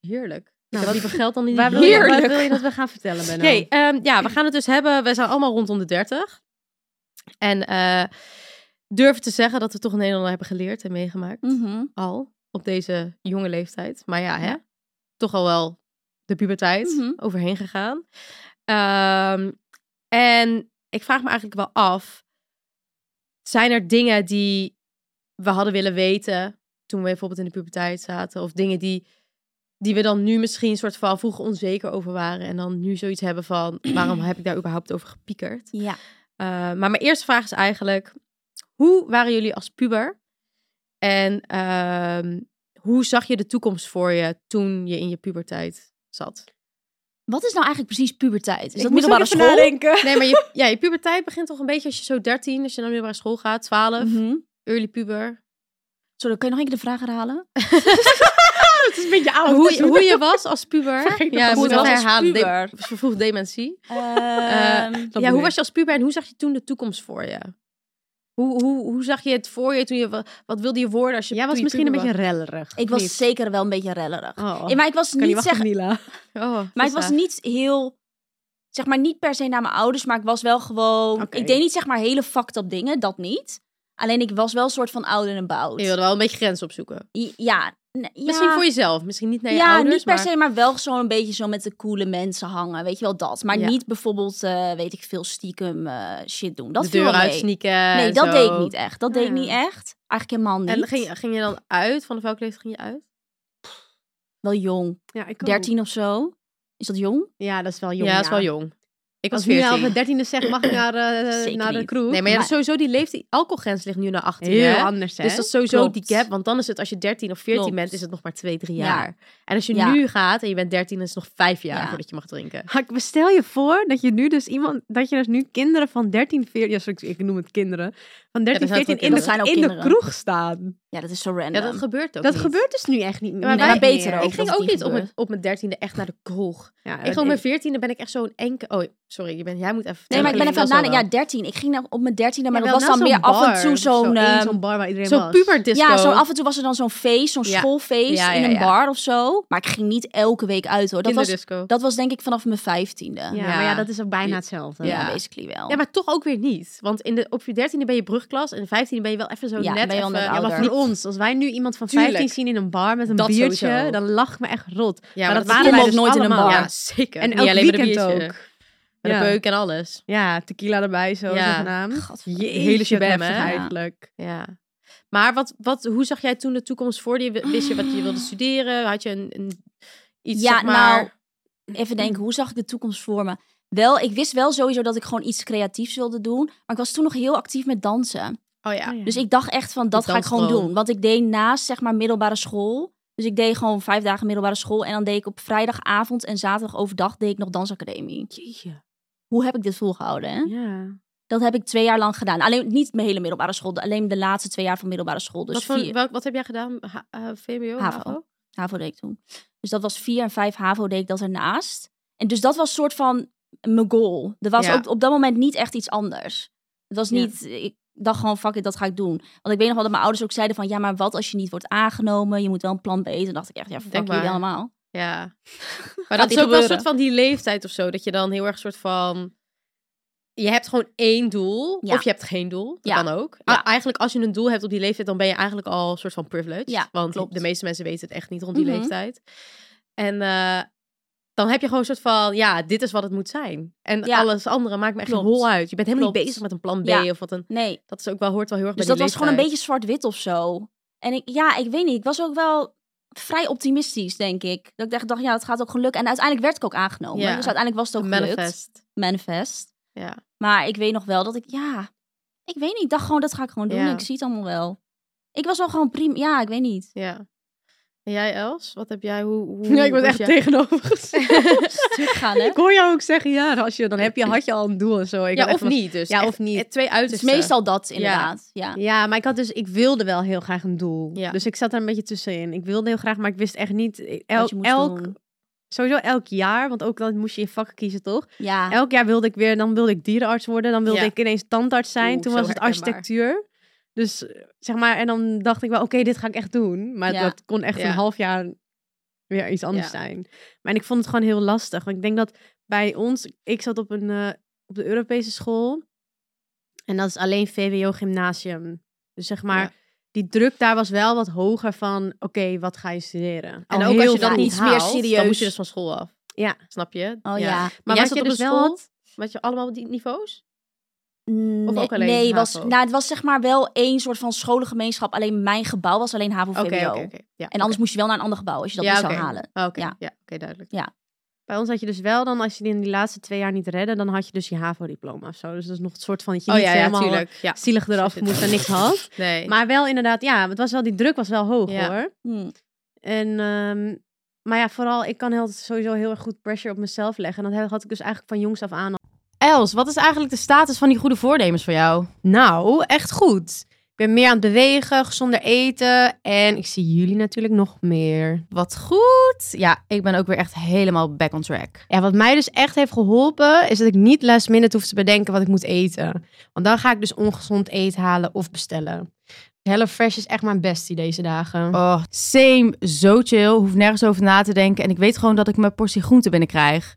E: Heerlijk. Nou,
D: Nou,
E: ik heb liever geld dan in
D: Waar
E: die
D: wil, je, waar
E: Heerlijk.
D: wil je dat we gaan vertellen, Benno?
E: Oké, ehm, ja, we gaan het dus hebben. We zijn allemaal rondom de 30. En eh durf te zeggen dat we toch een en ander hebben geleerd en meegemaakt.
C: Mhm.
E: Al op deze jonge leeftijd. Maar ja, hè? toch al wel de puberteit
C: Mhm.
E: overheen gegaan. Ehm, en ik vraag me eigenlijk wel af: zijn er dingen die we hadden willen weten toen we bijvoorbeeld in de puberteit zaten? Of dingen die, die we dan nu misschien een soort van vroeger onzeker over waren. En dan nu zoiets hebben van: waarom heb ik daar überhaupt over gepiekerd?
C: Ja.
E: Eh, maar mijn eerste vraag is eigenlijk: hoe waren jullie als puber? En ehm, hoe zag je de toekomst voor je toen je in je puberteit zat?
C: Wat is nou eigenlijk precies puberteit? Is
D: Ik
C: dat
D: moest ook
C: middelbare
D: even
C: school?
D: nadenken.
E: Nee, maar je, ja, je puberteit begint toch een beetje als je zo 13, als je naar de middelbare school gaat, 12,
C: Mhm.
E: early puber.
C: Sorry, kun je nog een keer de vraag herhalen?
D: Het Ah, is een beetje oud.
E: Hoe, je- hoe je was als puber.
D: Vergeet
E: Ja,
D: nog
E: moet
D: hoe
E: wel
D: ik was als
E: herhalen. Eh, De,
C: puber.
E: vervroegd dementie.
C: Ehm,
E: Ja, hoe was je als puber en hoe zag je toen de toekomst voor je? Hoe, hoe, hoe zag je het voor je toen je wa- wat wilde je worden als je
D: Jij
E: toen
D: was
E: je
D: misschien een
E: puber
D: beetje rellerig.
C: ik
D: of
C: was
D: niet?
C: zeker wel een beetje rellerig.
D: Oh,
C: Eh, maar ik was
D: kan niet
C: niet
D: wachten,
C: zeg,
D: Nila.
E: was. Oh,
C: maar ik was
E: Tessa.
C: niet heel, zeg maar niet per se naar mijn ouders, maar ik was wel gewoon.
D: Oké.
C: Ik deed niet zeg maar hele fucked up dingen, dat niet. Alleen ik was wel een soort van ouder en bout.
E: Je wilde wel een beetje grens opzoeken.
C: I- Ja, n- ja.
E: Misschien voor jezelf, misschien niet naar je
C: ja,
E: ouders.
C: niet per
E: maar-
C: se, maar wel zo'n beetje zo met de coole mensen hangen. Weet je wel dat. Maar
E: Ja.
C: niet bijvoorbeeld, eh, weet ik veel, stiekem eh, shit doen. Dat
E: de
C: viel
E: deur
C: wel mee.
E: uit sneaken.
C: Nee,
E: en
C: dat
E: zo.
C: deed ik niet echt. Dat deed ik
D: Ja.
C: niet echt. Eigenlijk helemaal niet.
E: En ging, ging je dan uit? Van welke leeftijd ging je uit?
C: Wel jong.
D: Ja, ik ook.
C: 13 of zo. Is dat jong?
D: Ja, dat is wel jong.
E: ja, dat is wel jong. Ik was
D: Als nu
E: 14.
D: al de dertiende zegt, mag ik naar, eh,
C: Zeker
D: naar de
C: niet.
D: crew?
E: Nee, maar ja,
C: Maar-
E: sowieso die leeftijd, alcoholgrens ligt nu naar 18.
D: heel
E: hè?
D: anders, hè?
E: Dus dat is sowieso
C: Klopt.
E: die gap, want dan is het als je 13 of 14
C: Klopt.
E: bent, is het nog maar 2, 3
C: Ja.
E: jaar. En als je
C: Ja.
E: nu gaat en je bent 13, dan is het nog 5 jaar
C: Ja.
E: voordat je mag drinken.
D: Ha, ik- Stel je voor dat je nu dus iemand, dat je dus nu kinderen van 13, 14, ja, sorry, ik noem het kinderen, van 13,
E: zijn toch
D: 14 in,
E: kinderen?
D: de,
E: Dat
C: zijn ook
D: in de
C: kinderen.
D: kroeg staan.
C: Ja, dat is zo
E: Ja,
C: random.
E: dat gebeurt ook
D: dat
E: niet.
D: gebeurt dus nu echt niet meer.
E: maar wij-
D: Nee,
C: beter
D: meer.
C: ook.
E: Ik
C: dat
E: ging
C: het
E: ook
C: niet
E: niet op mijn,
C: gebeurt.
E: op mijn 13e echt naar de kroeg.
D: Ja,
E: ik ging op mijn 14e ben ik echt zo'n enke... Oh, sorry, je bent, jij moet even
C: nee,
E: vertellen.
C: maar ik ben even aan het
E: Dat
C: nadenken.
E: zal
C: Ja, 13. Ik ging nou op mijn 13e, maar
D: Ja, wel
C: dat was
D: na
C: dan meer
D: zo'n
C: af en
D: bar,
C: toe
D: of zo,
C: zo'n...
D: één
C: eh,
D: zo'n bar waar iedereen
E: wel. Zo'n
D: was.
E: puberdisco.
C: ja, zo af en toe was er dan zo'n feest, zo'n
E: Ja.
C: schoolfeest
E: Ja, ja,
C: in een
E: ja.
C: bar of zo. Maar ik ging niet elke week uit hoor. Dat, was,
E: Kinderdisco.
C: dat was denk ik vanaf mijn 15e. Ja,
D: Ja, maar ja, dat is ook bijna hetzelfde.
C: ja,
E: Ja.
C: basically wel.
E: Ja, maar toch ook weer niet. Want in de, op je dertiende ben je brugklas en in vijftiende ben je wel even zo
C: Ja,
E: net
C: ben je wel
E: even...
C: net
E: ja, maar
C: ouder.
D: Voor ons, als wij nu iemand van
E: Tuurlijk.
D: 15 zien in een bar met een
E: Dat
D: biertje,
E: sowieso.
D: dan lach ik me echt rot.
E: Ja,
D: maar
E: maar
D: dat
E: dat
D: waren wij
C: kon
D: dus
C: ook nooit in een
D: allemaal.
C: bar.
E: Ja, zeker.
D: En
E: Niet
D: elk
E: alleen met een
D: weekend
E: biertje.
D: ook. Met
E: Ja.
D: de peuk en alles.
E: Ja, tequila erbij zo
D: Ja.
E: zogenaamd.
C: Gadverdamme.
E: Je
D: Hele
E: hele
D: shabam,
E: shabam
D: hè?
E: eigenlijk.
D: Ja. Maar wat, wat, hoe zag jij toen de toekomst voor je? Wist je wat je wilde studeren? Had je een, een iets,
C: Ja,
D: zeg maar... mm,
C: nou, even denken, hoe zag ik de toekomst voor me? Wel, ik wist wel sowieso dat ik gewoon iets creatiefs wilde doen. Maar ik was toen nog heel actief met dansen.
E: nou.
D: Oh ja.
C: Dus ik dacht echt van, dat
D: Je
C: ga ik
D: danst
C: gewoon
D: gewoon.
C: doen. Want ik deed naast, zeg maar, middelbare school. Dus ik deed gewoon vijf dagen middelbare school. En dan deed ik op vrijdagavond en zaterdag overdag deed ik nog dansacademie.
E: Jeetje.
C: Hoe heb ik dit volgehouden, hè?
E: Ja.
C: Dat heb ik twee jaar lang gedaan. Alleen niet mijn hele middelbare school. Alleen de laatste twee jaar van middelbare school. Dus
D: wat, voor-
C: vier,
D: welk- wat heb jij gedaan? H- eh, VMBO?
C: HAVO.
D: HAVO?
C: HAVO deed ik toen. Dus dat was vier en vijf HAVO deed ik dat ernaast. En dus dat was een soort van mijn goal. Er was
D: Ja.
C: ook op dat moment niet echt iets anders. Het was
D: Ja.
C: niet, ik dacht gewoon fuck it, dat ga ik doen. Want ik weet nog wel dat mijn ouders ook zeiden van... ja, maar wat als je niet wordt aangenomen? Je moet wel een plan B. Toen dacht ik echt, ja, fuck
D: Denk
C: jullie
D: maar.
C: allemaal.
D: Ja. Maar
C: Gaat
D: dat
C: die
D: is ook wel een
C: gebeuren?
D: soort van die leeftijd of zo. Dat je dan heel erg soort van... Je hebt gewoon één doel.
C: Ja.
D: Of je hebt geen doel. Dat
C: Ja.
D: kan ook.
C: Ja.
D: A- Eigenlijk als je een doel hebt op die leeftijd... dan ben je eigenlijk al een soort van privileged.
C: Ja,
D: want
C: klopt.
D: de meeste mensen weten het echt niet rond die
C: Mhm.
D: leeftijd. En eh, dan heb je gewoon een soort van... Ja, dit is wat het moet zijn. En
C: Ja.
D: alles andere maakt me echt
C: Klopt.
D: een hol uit. Je bent helemaal niet
C: Klopt.
D: bezig met een plan B
C: Ja.
D: of wat een...
C: Nee,
D: Dat is ook wel, hoort wel heel erg
C: Dus
D: bij
C: dat
D: die
C: was gewoon een beetje
D: leeftijd.
C: zwart-wit of zo. En ik, ja, ik weet niet. Ik was ook wel vrij optimistisch, denk ik. Dat ik echt dacht, ja, dat gaat ook gelukken. En uiteindelijk werd ik ook aangenomen.
D: Ja.
C: Dus uiteindelijk was het ook gelukt.
D: Manifest.
C: Manifest.
D: Ja.
C: Maar ik weet nog wel dat ik, ja... Ik weet niet, ik dacht gewoon, dat ga ik gewoon doen.
D: Ja.
C: Ik zie het allemaal wel. Ik was wel gewoon prima. Ja, ik weet niet.
D: Ja. En jij, Els? Wat heb jij? Hoe, hoe
E: Ja, ik was echt
D: jij-
E: tegenovergesteld.
C: Stuk gaan, hè?
E: ik hoor jou ook zeggen, ja, als je, dan heb je, had je al een doel en zo. Ik had
D: Ja,
E: echt
D: of
E: van-
D: niet dus.
E: Ja,
D: Echt-
E: of niet.
D: eh, Twee
C: Het is
D: uitersten.
C: meestal dat, inderdaad. Ja.
E: Ja, maar ik had dus, ik wilde wel heel graag een doel.
D: Ja.
E: Dus ik zat daar een beetje tussenin. Ik wilde heel graag, maar ik wist echt niet. ik-
C: Wat
E: Elk,
C: je moest
E: elk
C: doen.
E: sowieso elk jaar, want ook dan moest je je vakken kiezen, toch?
C: Ja.
E: Elk jaar wilde ik weer, dan wilde ik dierenarts worden, dan wilde
D: Ja.
E: ik ineens tandarts zijn.
D: Oeh,
E: Toen
D: zo
E: was het
D: herkenbaar.
E: architectuur. Dus eh, zeg maar, en dan dacht ik wel, oké, dit ga ik echt doen. Maar
C: Ja.
E: dat kon echt
D: Ja.
E: een half jaar weer iets anders
D: Ja.
E: zijn. Maar en ik vond het gewoon heel lastig. Want ik denk dat bij ons, ik zat op een eh, op de Europese school. En dat is alleen VWO gymnasium. Dus zeg maar,
D: Ja.
E: die druk daar was wel wat hoger van, oké, wat ga je studeren?
D: En
E: Al
D: ook
E: heel
D: als je dat
E: vroeg.
C: vaak.
D: niet
C: Iets meer
D: haalt, dan
C: serieus.
D: moest je dus van school af.
E: Ja.
D: Snap je?
C: Oh ja.
D: Maar
E: jij
D: was
E: zat
D: je
E: op
D: dus
E: een
D: wel
E: school?
D: had? Wat je allemaal op die niveaus?
C: Nee,
D: Of ook alleen
C: nee was,
D: HAVO?
C: nou, het was zeg maar wel één soort van scholengemeenschap. Alleen mijn gebouw was alleen HAVO-VWO.
D: Oké, oké, oké. Ja,
C: En anders moest je wel naar een ander gebouw als je dat
D: Ja,
C: niet zou
D: oké.
C: halen.
D: oké. Oké,
C: ja.
D: ja, oké, duidelijk.
E: Bij ons had je dus wel dan, als je die in die laatste twee jaar niet redde, dan had je dus je HAVO-diploma of zo. Dus dat is nog een soort van dat je
D: Oh
E: niet
D: ja, ja,
E: helemaal
D: tuurlijk. Ja.
E: zielig eraf
D: Zo zit
E: moest en
D: het.
E: niks had.
D: Nee.
E: Maar wel inderdaad, ja, het was wel, die druk was wel hoog
D: Ja.
E: hoor.
C: Hm.
E: En, ehm, maar ja, vooral, ik kan heel, sowieso heel erg goed pressure op mezelf leggen. En dat had ik dus eigenlijk van jongs af aan al.
D: Els, wat is eigenlijk de status van die goede voornemens voor jou?
E: Nou, echt goed. Ik ben meer aan het bewegen, gezonder eten. En ik zie jullie natuurlijk nog meer.
F: Wat goed. Ja, ik ben ook weer echt helemaal back on track.
E: Ja, wat mij dus echt heeft geholpen, is dat ik niet last minute hoef te bedenken wat ik moet eten. Want dan ga ik dus ongezond eten halen of bestellen. HelloFresh is echt mijn bestie deze dagen.
F: Oh, same. Zo chill. Hoef nergens over na te denken. En ik weet gewoon dat ik mijn portie groente binnenkrijg.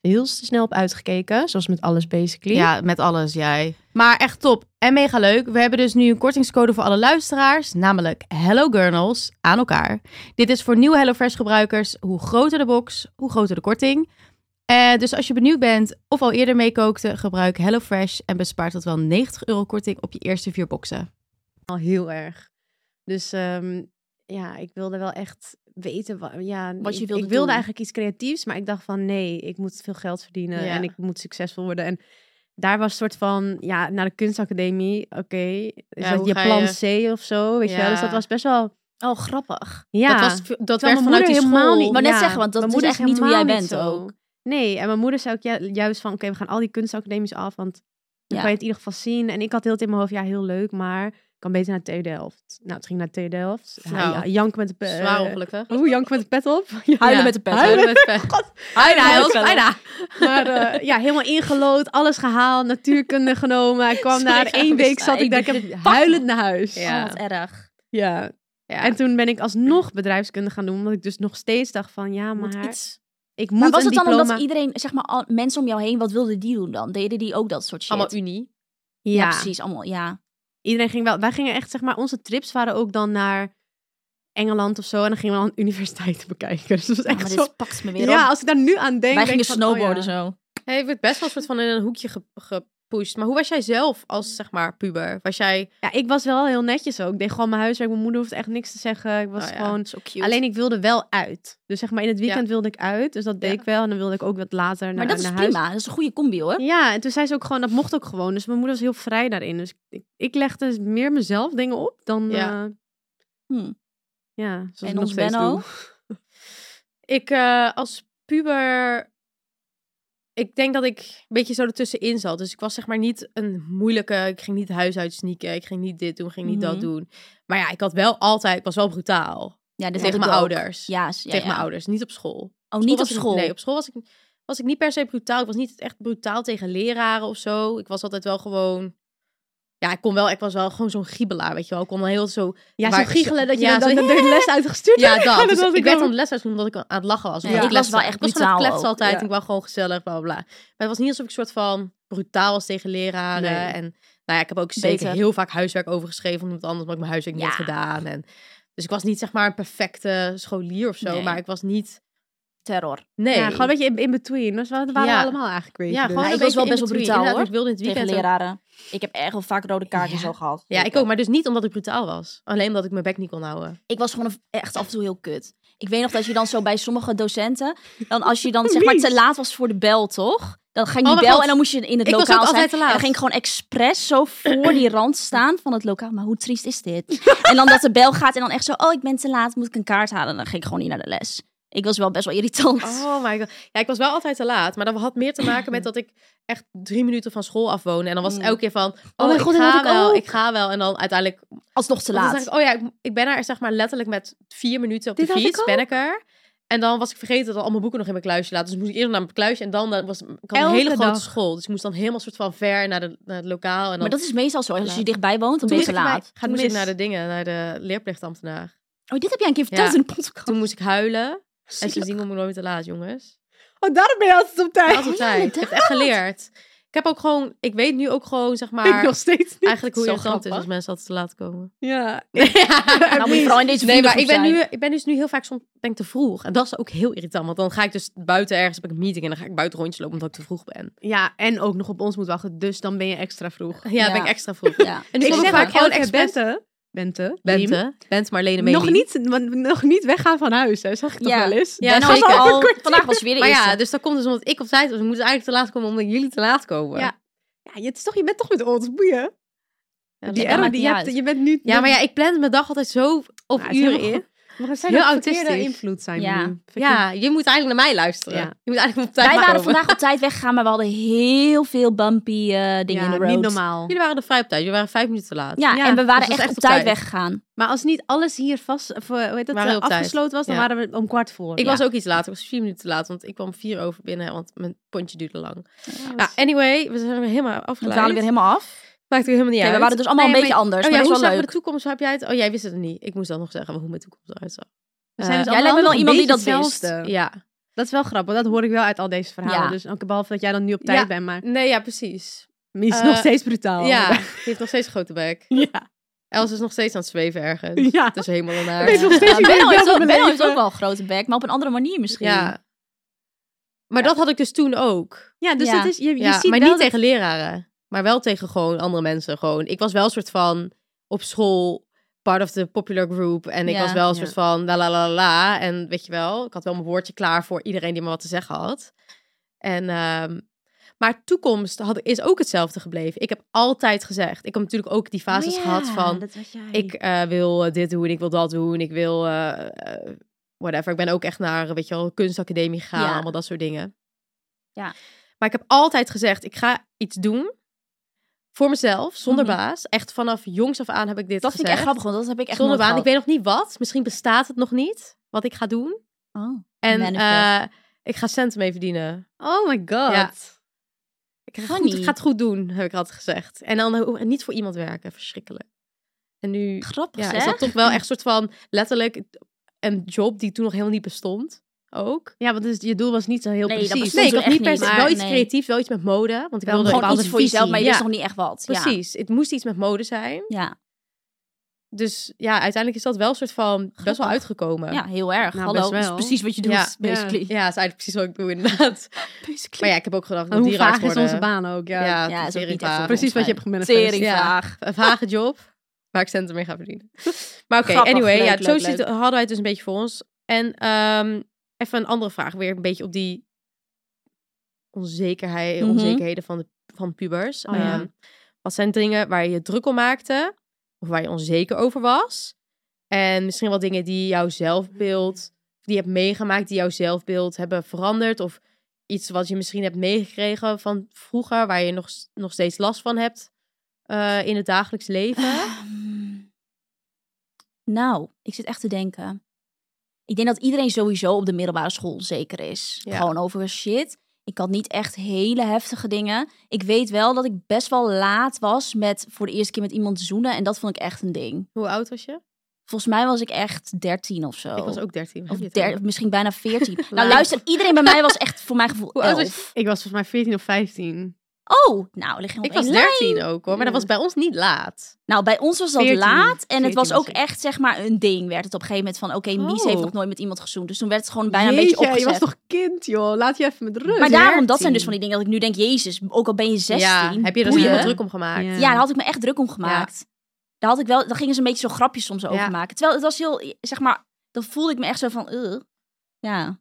E: heel te snel op uitgekeken. Zoals met alles basically.
F: Ja, met alles, jij. Maar echt top en mega leuk. We hebben dus nu een kortingscode voor alle luisteraars, namelijk Hello Gurnals aan elkaar. Dit is voor nieuwe HelloFresh gebruikers. Hoe groter de box, hoe groter de korting. Eh, dus als je benieuwd bent of al eerder meekookte, gebruik HelloFresh en bespaart tot wel 90 euro korting op je eerste vier boxen.
E: al heel erg. Dus ehm, ja, ik wilde wel echt weten wa- ja,
C: Wat je
E: ik,
C: wilde
E: Ik wilde
C: doen.
E: eigenlijk iets creatiefs, maar ik dacht van nee, ik moet veel geld verdienen
D: Ja.
E: en ik moet succesvol worden. En daar was soort van ja, naar de kunstacademie, oké, is
D: Ja,
E: dat
D: hoe
E: je
D: ga
E: plan
D: je-
E: C of zo, weet je wel? Dus dat
D: Ja.
E: was best wel
C: Oh, grappig.
E: ja.
D: Dat, was, dat
E: Terwijl
D: werd
E: mijn
D: vanuit
E: moeder
D: die school.
E: helemaal niet.
C: Wou net
E: ja,
C: zeggen, want dat
E: mijn
C: is
E: moeder
C: echt niet hoe jij
E: helemaal
C: bent
E: zo.
C: ook.
E: Nee, en mijn moeder zei ook ju- juist van, oké, we gaan al die kunstacademies af, want dan
C: Ja.
E: kan je het in ieder geval zien. En ik had heel het in mijn hoofd, ja, heel leuk, maar kan beter naar TU Delft. Nou, het ging naar TU Delft. Ja,
D: Nou,
E: ja, jank met de pet.
D: Zwaar ongelukkig.
E: Oeh, jank met de pet op. Ja.
C: Huilen
D: Ja.
C: met de pet.
D: Huilen
C: op.
D: met pet.
E: Huilen
D: Bijna,
E: met de pet op.
D: bijna.
E: Maar eh, ja, helemaal ingelood, alles gehaald, natuurkunde genomen. Ik kwam
C: Sorry,
E: na één
C: Gabby,
E: week, zat
C: maar
E: ik daar
C: ik
E: ik heb huilend naar huis.
D: Ja.
C: Oh, wat erg.
E: Ja.
D: Ja.
E: En toen ben ik alsnog bedrijfskunde gaan doen, omdat ik dus nog steeds dacht van, ja,
C: Moet
E: maar
C: iets.
E: ik moet
C: Maar was
E: een
C: het dan
E: diploma.
C: omdat iedereen, zeg maar, al- mensen om jou heen, wat wilden die doen dan? Deden die ook dat soort shit?
D: Allemaal unie.
C: ja.
E: Ja,
C: precies. Allemaal, ja.
E: iedereen ging wel. Wij gingen echt, zeg maar, onze trips waren ook dan naar Engeland of zo. En dan gingen we dan universiteiten bekijken. Dus dat was
C: Ja,
E: echt
C: maar
E: zo...
C: dit pakt me weer
E: Ja,
C: op.
E: als ik daar nu aan denk.
C: Wij
E: denk
C: gingen
E: ik van, oh ja.
C: snowboarden zo.
D: Hey, ik werd best wel een soort van in een hoekje ge- gepusht. Maar hoe was jij zelf als, zeg maar, puber? Was jij...
E: Ja, ik was wel heel netjes ook. Ik deed gewoon mijn huiswerk. Mijn moeder hoeft echt niks te zeggen. Ik was
D: Oh ja.
E: gewoon
C: Zo cute.
E: Alleen ik wilde wel uit. Dus zeg maar in het weekend wilde ik uit. Dus dat deed
D: Ja.
E: ik wel. En dan wilde ik ook wat later naar,
C: maar dat is
E: naar
C: prima.
E: huis.
C: Dat is een goede combi hoor.
E: Ja, en toen zei ze ook gewoon, dat mocht ook gewoon. Dus mijn moeder was heel vrij daarin. Dus ik, ik legde meer mezelf dingen op dan...
D: Ja.
E: Ja.
C: Hm.
E: ja, zoals ik
C: En
E: nog
C: ons
E: steeds
C: Benno?
E: doe.
D: Ik eh, als puber... Ik denk dat ik een beetje zo ertussenin zat. Dus ik was zeg maar niet een moeilijke... Ik ging niet huis uit sneaken. Ik ging niet dit doen, ging niet
C: Mhm.
D: dat doen. Maar ja, ik had wel altijd... Ik was wel brutaal.
C: Ja, dit
D: tegen
C: had ik
D: mijn
C: ook.
D: ouders.
C: Ja, s- ja,
D: tegen
C: ja.
D: mijn ouders. Niet op school.
C: Oh, niet op
D: was ik-
C: school.
D: nee, op school was ik, was ik niet per se brutaal. Ik was niet echt brutaal tegen leraren of zo. Ik was altijd wel gewoon... Ja, ik, kon wel, ik was wel gewoon zo'n giebelaar, weet je wel. Ik kon wel heel zo...
E: Ja,
D: waar-
E: zo giechelen dat je
D: Ja,
E: dan,
D: zo-
E: dan- dan de les uitgestuurd
D: Ja,
E: hebt.
D: dat. Dus
E: was
D: ik
E: wel.
D: werd dan de les uitgenomen omdat ik aan het lachen was.
C: Nee,
D: omdat
C: ik was wel
D: kletste. Ik was
C: echt
D: gewoon aan het
C: brutaal
D: kletsen altijd.
E: ook, ja.
D: Ik was gewoon gezellig, bla, bla, bla. Maar het was niet alsof ik soort van brutaal was tegen leraren.
E: Nee.
D: En nou ja, ik heb ook zeker
C: Beter.
D: heel vaak huiswerk overgeschreven. Omdat anders had ik mijn huiswerk niet
C: Ja.
D: had gedaan. En, dus ik was niet zeg maar een perfecte scholier of zo.
C: Nee.
D: Maar ik was niet...
C: Terror.
D: Nee.
E: Ja, gewoon een beetje in, in between. Dus we waren
D: Ja.
E: allemaal eigenlijk crazy.
D: Ja,
E: dus.
D: gewoon
C: Ja,
D: een
C: ik was
D: beetje
C: wel best
D: in
C: wel
D: between.
C: brutaal,
D: Inderdaad,
C: hoor.
D: Ik wilde in het
C: Tegen
D: weekend... ook-
C: leraren. Ik heb erg wel vaak rode kaarten
D: Ja.
C: zo gehad.
D: Ja, ik ook. Maar dus niet omdat ik brutaal was. Alleen omdat ik mijn bek niet kon houden.
C: Ik was gewoon een- echt af en toe heel kut. Ik weet nog dat je dan zo bij sommige docenten... Dan als je dan zeg maar te laat was voor de bel, toch? Dan ging
D: Oh
C: die
D: mijn
C: bel
D: God.
C: en dan moest je in het
D: Ik was
C: lokaal
D: ook
C: zijn.
D: altijd te
C: En dan
D: laat.
C: ging ik gewoon expres zo voor die rand staan van het lokaal. Maar hoe triest is dit? en dan dat de bel gaat en dan echt zo... Oh, ik ben te laat, moet ik een kaart halen? Dan ging ik gewoon niet naar de les. Ik was wel best wel irritant.
D: Oh my god. Ja, ik was wel altijd te laat. Maar dat had meer te maken met dat ik echt drie minuten van school af woonde. En dan was het
C: Mm.
D: elke keer van... Oh,
C: mijn
D: ik
C: god, dat
D: ga
C: had ik
D: wel,
C: ook.
D: ik ga wel. En dan uiteindelijk...
C: Alsnog te
D: want dan
C: laat.
D: dacht ik, oh ja, ik, ik ben er zeg maar letterlijk met vier minuten op
E: Dit
D: de
E: had ik
D: fiets. Ben ik er. En dan was ik vergeten dat al mijn boeken nog in mijn kluisje laten. Dus moest ik eerder naar mijn kluisje. En dan, dan was ik had een
E: Elke
D: hele grote
E: dag.
D: school. Dus ik moest dan helemaal soort van ver naar, de, naar het lokaal. En dan
C: Maar dat is meestal zo. Als
D: Ja.
C: je dichtbij woont, dan ben je te
E: moest ik bij-
C: laat.
D: toen moest ik
E: mis.
D: naar de dingen, naar de leerplichtambtenaar.
C: Oh, dit heb jij een keer verteld
D: Ja.
C: in de podcast.
D: Toen moest Oh, ik huilen. En
E: Zielig.
D: sindsdien kom ik nooit te laat, jongens.
E: Oh, daarom ben je altijd op tijd.
D: Altijd
C: ja,
D: tijd. ik heb het echt geleerd. Ik heb ook gewoon, ik weet nu ook gewoon, zeg
E: ik
D: maar,
E: nog steeds niet.
D: eigenlijk hoe
E: Zo
D: irritant het is
E: grappig.
D: als mensen altijd te laat komen.
E: Ja.
C: Nou, moet je vooral in deze
D: Nee, maar ik ben,
C: vriendengroep
D: nu, ik ben dus nu heel vaak soms ben ik te vroeg. En dat is ook heel irritant. Want dan ga ik dus buiten ergens, heb ik een meeting en dan ga ik buiten rondjes lopen omdat ik te vroeg ben.
E: ja, en ook nog op ons moet wachten. Dus dan ben je extra vroeg.
D: Ja,
C: Ja.
D: dan ben ik extra vroeg.
C: zijn. Ja.
D: En
E: ik
D: kom
E: zeg vaak
D: gewoon
E: elke keer
D: expres-
E: Bente. Bente. Liem.
D: Bente, Bente Marlene Meli.
E: Nog niet, want- nog niet weggaan van huis, hè, zag ik toch
C: Ja.
E: wel eens.
D: Ja,
C: Ja,
D: nou,
C: nou,
D: zeker.
C: al, vandaag was je weer de
D: Maar
C: eerste.
D: ja, dus dat komt dus omdat ik op tijd was. Ik moet eigenlijk te laat komen omdat jullie te laat komen.
E: Ja. Ja, je, het is toch, je bent toch met ons, boeien.
D: Ja, dat
E: Die
D: maakt
E: error
D: niet
E: die je
D: uit.
E: hebt, je bent nu...
D: Ja, maar ja, ik plan mijn dag altijd zo op
E: Ja, het is
D: uren
E: helemaal
D: in.
E: We zijn
D: Nou, heel
E: heel verkeerde
D: autistisch.
E: invloed zijn we
C: Ja.
E: nu. Verkeerde-
D: Ja, je moet eigenlijk naar mij luisteren.
E: Ja.
D: Je moet eigenlijk op tijd
C: Wij waren
D: komen.
C: vandaag op tijd weggegaan, maar we hadden heel veel bumpy eh, dingen in de road.
E: niet normaal.
D: Jullie waren er vrij op tijd. Jullie waren vijf minuten te laat.
C: Ja,
E: Ja,
C: en we waren
D: dus dat
C: echt,
D: is
C: op tijd, weggegaan.
E: Maar als niet alles hier vast, of, eh, hoe heet dat,
D: Waren we
E: eh,
D: op tijd.
E: afgesloten was, dan
D: Ja.
E: waren we om kwart voor.
D: Ik
E: Ja.
D: was ook iets later. Ik was vier minuten te laat, want ik kwam vier over binnen, want mijn pontje duurde lang. Nou, anyway, we zijn weer helemaal
C: We
D: afgeleid.
C: waren weer helemaal af.
D: Maakt er helemaal niet
C: Oké, we
D: uit.
C: waren dus allemaal
D: Nee,
C: een beetje
D: maar-
C: anders,
D: Oh
C: maar
D: ja, hoe
C: dat is wel
D: zag de
C: leuk.
D: toekomst heb jij het? Oh, jij wist het niet. Ik moest dan nog zeggen hoe mijn toekomst eruit zag. Eh,
E: We zijn
C: jij
E: dus
C: lijkt me
E: allemaal
C: wel
E: nog een
C: iemand die
E: beetje
C: dat wist.
E: hetzelfde.
D: Ja.
E: Dat is wel grappig, want dat hoor ik wel uit al deze verhalen.
C: Ja.
E: Dus ook behalve dat jij dan nu op tijd
D: Ja.
E: bent, maar
D: Nee, ja, precies.
E: Mies is
D: Eh,
E: nog steeds
C: Oh.
E: brutaal.
D: Ja, die heeft nog steeds een grote bek.
E: Ja.
D: Els is nog steeds aan het zweven ergens.
E: Ja.
D: Het is helemaal daarna.
E: Ik weet nog steeds
C: Ja,
E: niet
C: Benno
E: hoe ik
C: heeft,
E: dat
C: ook,
E: moet
C: Benno heeft
E: beleven.
C: ook wel een grote bek, maar op een andere manier misschien.
D: Ja. Maar dat had ik dus toen ook.
E: Ja, dus
C: Ja.
E: dat is, je, je
D: Ja,
E: ziet
D: maar
E: wel
D: niet
E: dat-
D: tegen leraren. Maar wel tegen gewoon andere mensen. Gewoon. Ik was wel een soort van op school part of the popular group. En ik
C: Ja.
D: was wel een
E: Ja.
D: soort van la la la la. En weet je wel, ik had wel mijn woordje klaar voor iedereen die me wat te zeggen had. En, ehm, maar toekomst had, is ook hetzelfde gebleven. Ik heb altijd gezegd. Ik heb natuurlijk ook die fases
E: Oh ja,
D: gehad van...
E: dat was
C: Mm.
E: jij.
D: Ik eh, wil eh, dit doen, ik wil dat doen, ik wil eh, eh, whatever. Ik ben ook echt naar, eh, weet je wel, kunstacademie gegaan,
C: Ja.
D: allemaal dat soort dingen.
C: Ja.
D: Maar ik heb altijd gezegd, ik ga iets doen Voor mezelf, zonder
C: Mhm.
D: baas. Echt vanaf jongs af aan heb ik dit
C: Dat vind ik
D: gezegd.
C: echt grappig, want dat heb ik echt
D: zonder
C: nooit
D: baan. Ik weet nog niet wat. Misschien bestaat het nog niet, wat ik ga doen.
C: gehad. Oh.
D: En
C: Manifest.
D: eh, ik ga centen mee verdienen.
E: Oh my god.
D: Ja. Ik ga, goed,
C: Funny.
D: ik ga het goed doen, heb ik altijd gezegd. En dan ho- en niet voor iemand werken, verschrikkelijk. En nu
C: Grappig,
D: ja,
C: hè?
D: is dat toch wel echt soort van letterlijk een job die toen nog helemaal niet bestond. Ook.
E: Ja, want dus je doel was niet zo heel
C: Nee, dat
E: precies.
C: bestond
D: Nee, ik
C: toen
D: had niet per
C: echt niet,
D: se
C: maar
D: wel iets
C: nee.
D: creatief, wel iets met mode. Want ik
E: Wel
D: wilde
E: een
C: Gewoon
D: bepaalde
C: iets voor jezelf,
D: visie.
C: maar je wist
D: Ja,
C: nog niet echt wat. Ja.
D: Precies, het moest iets met mode zijn.
C: Ja.
D: Dus ja, uiteindelijk is dat wel een soort van best wel uitgekomen.
C: ja, heel erg.
E: Nou,
C: Hallo,
E: best
C: dat is
E: wel.
C: precies wat je doet,
D: Ja,
C: basically.
D: Ja, dat is eigenlijk precies wat ik doe inderdaad.
C: Basically.
D: Maar ja, ik heb ook gedacht,
E: En
D: dat
E: hoe
D: dierenarts
E: vaag is
D: worden.
E: onze baan ook? Ja.
D: Ja,
C: Ja, is ook niet
D: teringvaag.
C: echt
E: Precies wat je hebt gemanifest.
C: Tering
D: Ja.
C: vraag.
D: een vage job waar ik centen mee ga verdienen. Maar oké,
C: Grappig,
D: anyway,
C: leuk,
D: ja,
C: leuk,
D: zo
C: leuk.
D: ziet- hadden wij het dus een beetje voor ons. En ehm, even een andere vraag, weer een beetje op die onzekerheid,
C: Mhm.
D: onzekerheden van, de, van pubers.
E: Oh ja.
D: Ehm, wat zijn dingen waar je je druk om maakte, of waar je onzeker over was? En misschien wel dingen die jouw zelfbeeld, die je hebt meegemaakt, die jouw zelfbeeld hebben veranderd, of iets wat je misschien hebt meegekregen van vroeger, waar je nog, s- nog steeds last van hebt eh, in het dagelijks leven.
C: Ehm, nou, ik zit echt te denken. Ik denk dat iedereen sowieso op de middelbare school zeker is.
D: Ja.
C: Gewoon over shit. Ik had niet echt hele heftige dingen. Ik weet wel dat ik best wel laat was met voor de eerste keer met iemand zoenen. En dat vond ik echt een ding.
D: Hoe oud was je?
C: Volgens mij was ik echt 13 of zo.
D: Ik was ook 13.
C: of
D: Heb je het
C: der-
D: ook?
C: misschien bijna 14. nou
D: Laat.
C: luister, iedereen bij mij was echt voor mijn gevoel
D: Hoe oud was
C: 11.
E: Ik was volgens mij 14 of 15.
C: Oh, nou, liggen we
D: Ik
C: op
D: was
C: één lijn.
D: 13 ook hoor, maar dat was bij ons niet laat.
C: Nou, bij ons was dat
E: 14,
C: laat. En het
E: 14
C: was
E: was
C: ook
E: ik.
C: echt, zeg maar, een ding. Werd het op een gegeven moment van, oké, Mies heeft
E: Oh.
C: nog nooit met iemand gezoend. Dus toen werd het gewoon bijna een
E: Jeetje,
C: beetje opgezet.
E: je was toch kind, joh. Laat je even met rust.
C: maar daarom, dat zijn
E: 13.
C: dus van die dingen dat ik nu denk, jezus, ook al ben je 16.
D: ja, heb je er dus
C: boeien.
D: helemaal druk om gemaakt?
E: Ja.
C: Ja, daar had ik me echt druk om gemaakt. Daar, had ik wel, daar gingen ze een beetje zo grapjes soms over maken. Terwijl het was heel, zeg maar, dan voelde ik me echt zo van, eh, ja.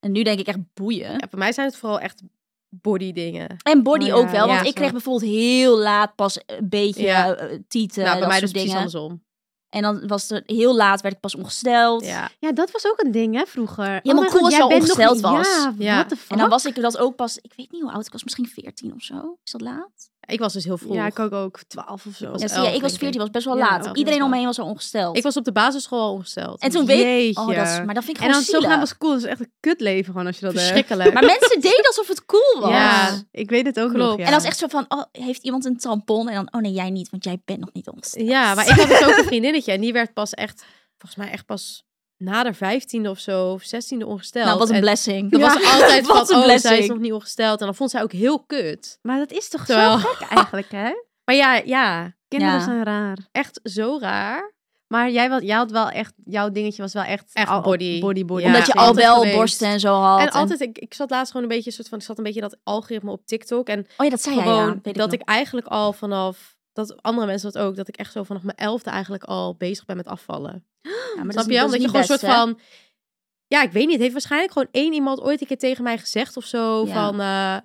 C: En nu denk ik echt boeien.
D: Ja, voor mij zijn het vooral echt body dingen.
C: En body
E: Oh ja,
C: ook wel, want
E: ja,
C: ik kreeg
E: zo.
C: bijvoorbeeld heel laat pas een beetje
D: Ja.
C: eh, tieten.
D: nou, bij
C: dat
D: mij dus precies
C: soort dingen.
D: andersom.
C: En dan was het heel laat, werd ik pas ongesteld.
D: Ja.
E: Ja, dat was ook een ding, hè, vroeger. Oh
C: maar
E: mijn
C: cool
E: god,
C: als je
E: jij
C: al
E: bent nog
C: ongesteld
E: niet-
C: was.
E: Ja,
D: Ja.
E: what the fuck?
C: En dan was ik dat ook pas, ik weet niet hoe oud ik was, misschien 14 of zo. Is dat laat?
D: Ik was dus heel vroeg.
E: Ja, ik ook, ook 12 of zo.
D: was
C: Ja, zie je,
D: elf,
C: ik was
D: denk
C: 14, was best wel
E: Ja,
C: laat.
E: elf
C: Iedereen
E: was
C: om me heen was al ongesteld.
D: Ik was op de basisschool al ongesteld. Dus
C: en toen weet
E: Jeetje.
C: Oh, dat is, maar dat vind ik
E: en dan
C: gewoon zielig.
E: zogenaamd was cool. Dat is echt een kutleven gewoon als je dat hebt.
D: Verschrikkelijk.
C: Maar mensen deden alsof het cool was.
E: Ja, ik weet het ook
D: Klopt.
E: nog, ja.
C: En als echt zo van, oh, heeft iemand een tampon? En dan, oh nee, jij niet, want jij bent nog niet ongesteld.
D: Ja, maar ik had dus ook een vriendinnetje. En die werd pas echt, volgens mij echt pas na de vijftiende of zo, of zestiende ongesteld.
C: Nou, wat een
D: En
C: blessing.
D: Dat was altijd
C: Wat
D: van,
C: een
D: oh, zij is
C: blessing.
D: nog niet ongesteld. En dan vond zij ook heel kut.
E: Maar dat is toch
D: Terwijl-
E: zo gek eigenlijk, hè?
D: Maar ja, Oh. ja,
E: Kinderen
C: Ja.
E: zijn raar.
D: echt zo raar.
E: Maar jij, was, jij had wel echt, jouw dingetje was wel echt...
D: Echt
E: al-
D: body.
E: Body, body.
D: Ja,
C: Omdat je
D: altijd
C: al wel
D: geweest.
C: borsten en zo had.
D: En
C: en-
D: altijd, ik, ik zat laatst gewoon een beetje, soort van, ik zat een beetje dat algoritme op TikTok. En
C: oh ja, dat zei jij, ja.
D: gewoon
C: Weet ik
D: dat
C: nog.
D: ik eigenlijk al vanaf, dat andere mensen dat ook, dat ik echt zo vanaf mijn elfde eigenlijk al bezig ben met afvallen.
C: Ja, maar dat
D: Snap
C: is-
D: je?
C: dat
D: Omdat
C: is
D: je
C: niet
D: gewoon een soort
C: best, hè?
D: van, ja, ik weet niet, heeft waarschijnlijk gewoon één iemand ooit een keer tegen mij gezegd of zo,
C: Ja.
D: van, eh,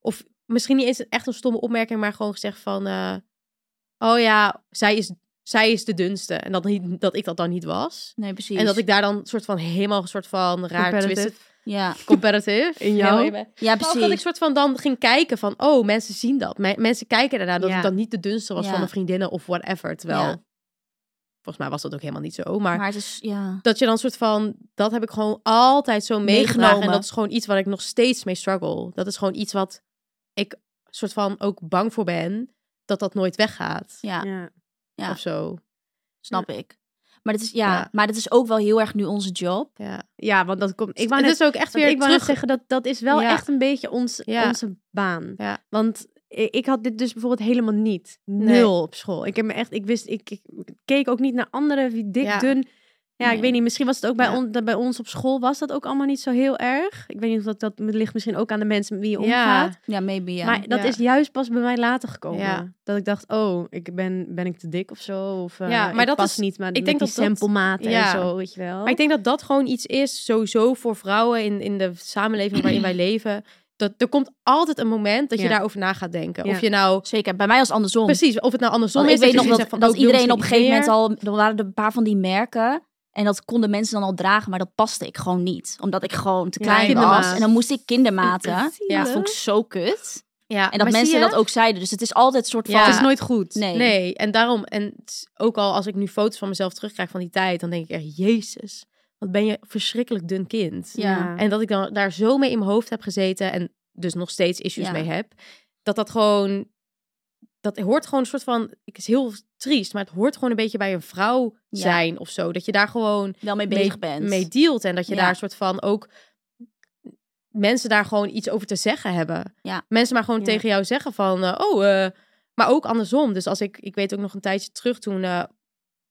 D: of misschien niet eens echt een stomme opmerking, maar gewoon gezegd van, eh, oh ja, zij is, zij is de dunste. En dat, niet, dat ik dat dan niet was.
C: Nee, precies.
D: En dat ik daar dan soort van helemaal een soort van raar
E: Competitive.
D: twisted
C: Ja,
D: competitive
E: In jou?
D: Helemaal ben.
C: ja
D: Maar ook Oh, dat ik
C: precies.
D: soort van dan ging kijken van, oh, mensen zien dat. Me- mensen kijken daarna dat
E: Ja.
D: ik dan niet de dunste was
C: Ja.
D: van mijn vriendinnen of whatever. Terwijl,
C: Ja.
D: volgens mij was dat ook helemaal niet zo. Maar,
C: Maar het is, ja.
D: dat je dan soort van, dat heb ik gewoon altijd zo meegenomen. En
C: Meegenomen.
D: dat is gewoon iets waar ik nog steeds mee struggle. Dat is gewoon iets wat ik soort van ook bang voor ben, dat dat nooit weggaat.
C: Ja.
E: Ja.
C: Ja.
D: Of zo.
C: Snap ik. Maar dat, is, ja,
D: Ja.
C: maar dat is ook wel heel erg nu onze job.
D: Ja.
E: ja, want dat komt... Ik wou
D: het
E: net
D: is ook echt
E: Want
D: weer
E: ik wou net
D: terug.
E: zeggen, dat, dat is wel
D: Ja.
E: echt een beetje ons,
D: Ja.
E: onze baan.
D: Ja.
E: Want i- ik had dit dus bijvoorbeeld helemaal niet. Nul op school. Ik heb me echt, ik wist, ik, ik keek ook niet naar anderen, wie dik,
D: Ja.
E: dun. Ja,
C: Nee.
E: ik weet niet, misschien was het ook bij,
D: Ja.
E: on- dat bij ons op school, was dat ook allemaal niet zo heel erg. Ik weet niet of dat, dat ligt misschien ook aan de mensen met wie je
D: Ja.
E: omgaat.
C: Ja, maybe ja.
E: Maar dat
D: Ja.
E: is juist pas bij mij later gekomen.
D: Ja.
E: Dat ik dacht, oh, ik ben, ben ik te dik of zo? Of eh,
D: Ja, maar
E: ik
D: dat
E: pas
D: is-
E: niet maar
D: denk
E: met die
D: dat dat-
E: stempelmaten
D: Ja.
E: en zo, weet je wel.
D: Maar ik denk dat dat gewoon iets is, sowieso voor vrouwen in, in de samenleving waarin wij leven. Dat er komt altijd een moment dat je
E: Ja.
D: daarover na gaat denken.
E: Ja.
D: Of je nou.
C: Zeker, bij mij was het andersom.
D: Precies, of het nou andersom
C: Want
D: is.
C: ik weet nog
D: je
C: dat,
D: zegt van,
C: dat
D: oh, ik wil
C: iedereen op een
D: misschien
C: gegeven
D: niet
C: moment
D: meer.
C: al... Er waren er een paar van die merken. En dat konden mensen dan al dragen, maar dat paste ik gewoon niet. Omdat ik gewoon te
E: Ja,
C: klein was.
E: kindermaat.
C: En dan moest ik kindermaten.
E: Zielig.
C: Ja, dat vond ik zo kut.
D: Ja,
C: En dat mensen dat ook zeiden. Dus het is altijd een soort van...
D: Ja.
F: Het is nooit goed.
C: Nee.
D: Nee, en daarom, en het is ook al als ik nu foto's van mezelf terugkrijg van die tijd, dan denk ik echt, jezus, wat ben je een verschrikkelijk dun kind.
C: Ja.
D: En dat ik dan daar zo mee in mijn hoofd heb gezeten en dus nog steeds issues
C: Ja.
D: mee heb, dat dat gewoon, dat hoort gewoon een soort van, het is heel triest, maar het hoort gewoon een beetje bij een vrouw
C: Ja.
D: zijn of zo. Dat je daar gewoon
C: Wel mee
D: mee-
C: bezig bent.
D: mee dealt en dat je
C: Ja.
D: daar een soort van ook mensen daar gewoon iets over te zeggen hebben.
C: Ja.
D: Mensen maar gewoon
E: Ja.
D: tegen jou zeggen van, eh, oh, eh, maar ook andersom. Dus als ik, ik weet ook nog een tijdje terug toen, eh,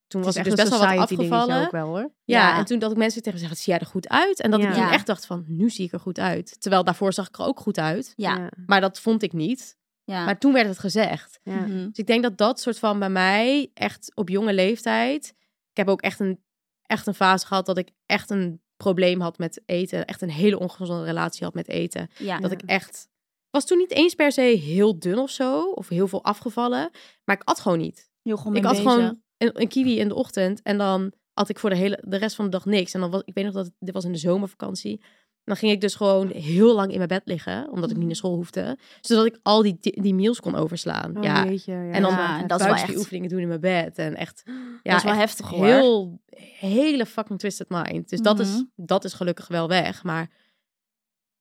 D: toen was ik dus best wel wat afgevallen.
E: ook wel hoor.
D: Ja,
C: Ja.
D: en toen dat ik mensen tegen me zeggen, zie jij er goed uit? En dat ik
E: Ja.
D: toen
C: Ja.
D: echt dacht van, nu zie ik er goed uit. Terwijl daarvoor zag ik er ook goed uit.
C: Ja.
D: Maar dat vond ik niet.
C: ja.
D: Maar toen werd het gezegd.
E: ja.
C: Mhm.
D: Dus ik denk dat dat soort van bij mij echt op jonge leeftijd. Ik heb ook echt een, echt een fase gehad dat ik echt een probleem had met eten. Echt een hele ongezonde relatie had met eten.
C: ja.
D: Dat ik echt. Was toen niet eens per se heel dun of zo. Of heel veel afgevallen. Maar ik at gewoon niet.
C: Heel gewoon
D: Ik
C: mee
D: had
C: bezig.
D: gewoon een, een kiwi in de ochtend. En dan had ik voor de, hele, de rest van de dag niks. En dan was ik weet nog dat dit was in de zomervakantie. En dan ging ik dus gewoon heel lang in mijn bed liggen. Omdat ik
C: Mhm.
D: niet naar school hoefde. Zodat ik al die, die, die meals kon overslaan.
E: Oh,
D: ja, en dan
C: Ja,
D: ja,
C: Oh, dat is wel echt-
D: die oefeningen doen in mijn bed. En echt, ja,
C: dat is wel
D: echt
C: heftig hoor.
D: heel, hele fucking twisted mind. Dus dat, is,
C: Mhm.
D: dat is gelukkig wel weg. Maar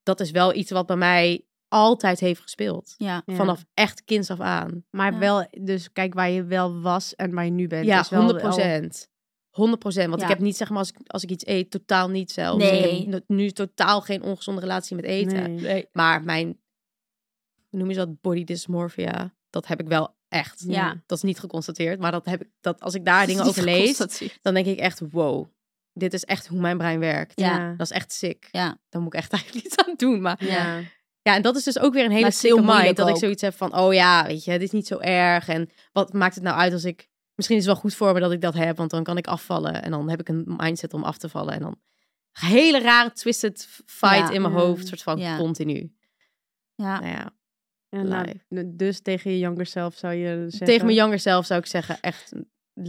D: dat is wel iets wat bij mij altijd heeft gespeeld.
C: Ja.
D: Vanaf echt kinds af aan.
E: Maar
C: Ja.
E: wel, dus kijk waar je wel was en waar je nu bent.
D: ja,
E: is wel
D: 100 procent. 100 procent. Want
C: Ja.
D: ik heb niet, zeg maar, als ik, als ik iets eet, totaal niet zelfs. Ik
C: Nee.
D: heb nu- nu totaal geen ongezonde relatie met
E: wel-
D: eten.
E: Nee.
D: Maar mijn, hoe noem je dat, body dysmorphia, dat heb ik wel echt.
C: Ja.
D: Dat is niet geconstateerd, maar dat heb ik, dat als ik
C: Dus
D: daar dingen over lees, dan denk ik echt, wow, dit is echt hoe mijn brein werkt.
C: Ja.
E: Ja.
D: Dat is echt sick.
C: Ja.
D: Dan moet ik echt eigenlijk iets aan doen. Maar
C: Ja.
E: Ja.
D: ja, en dat is dus ook weer een hele
C: Maar het is heel
D: sicke mind.
C: moeilijk
D: Dat ik
C: ook.
D: zoiets heb van, oh ja, weet je, dit is niet zo erg. En wat maakt het nou uit als ik... Misschien is het wel goed voor me dat ik dat heb, want dan kan ik afvallen. En dan heb ik een mindset om af te vallen. En dan een hele rare twisted fight
C: Ja. Mm,
D: in mijn
E: Ja.
D: hoofd, soort van
C: Ja.
D: continu.
C: Ja.
D: Nou ja,
E: En nou, dus tegen je younger zelf zou je zeggen...
D: tegen mijn younger zelf zou ik zeggen, echt, l-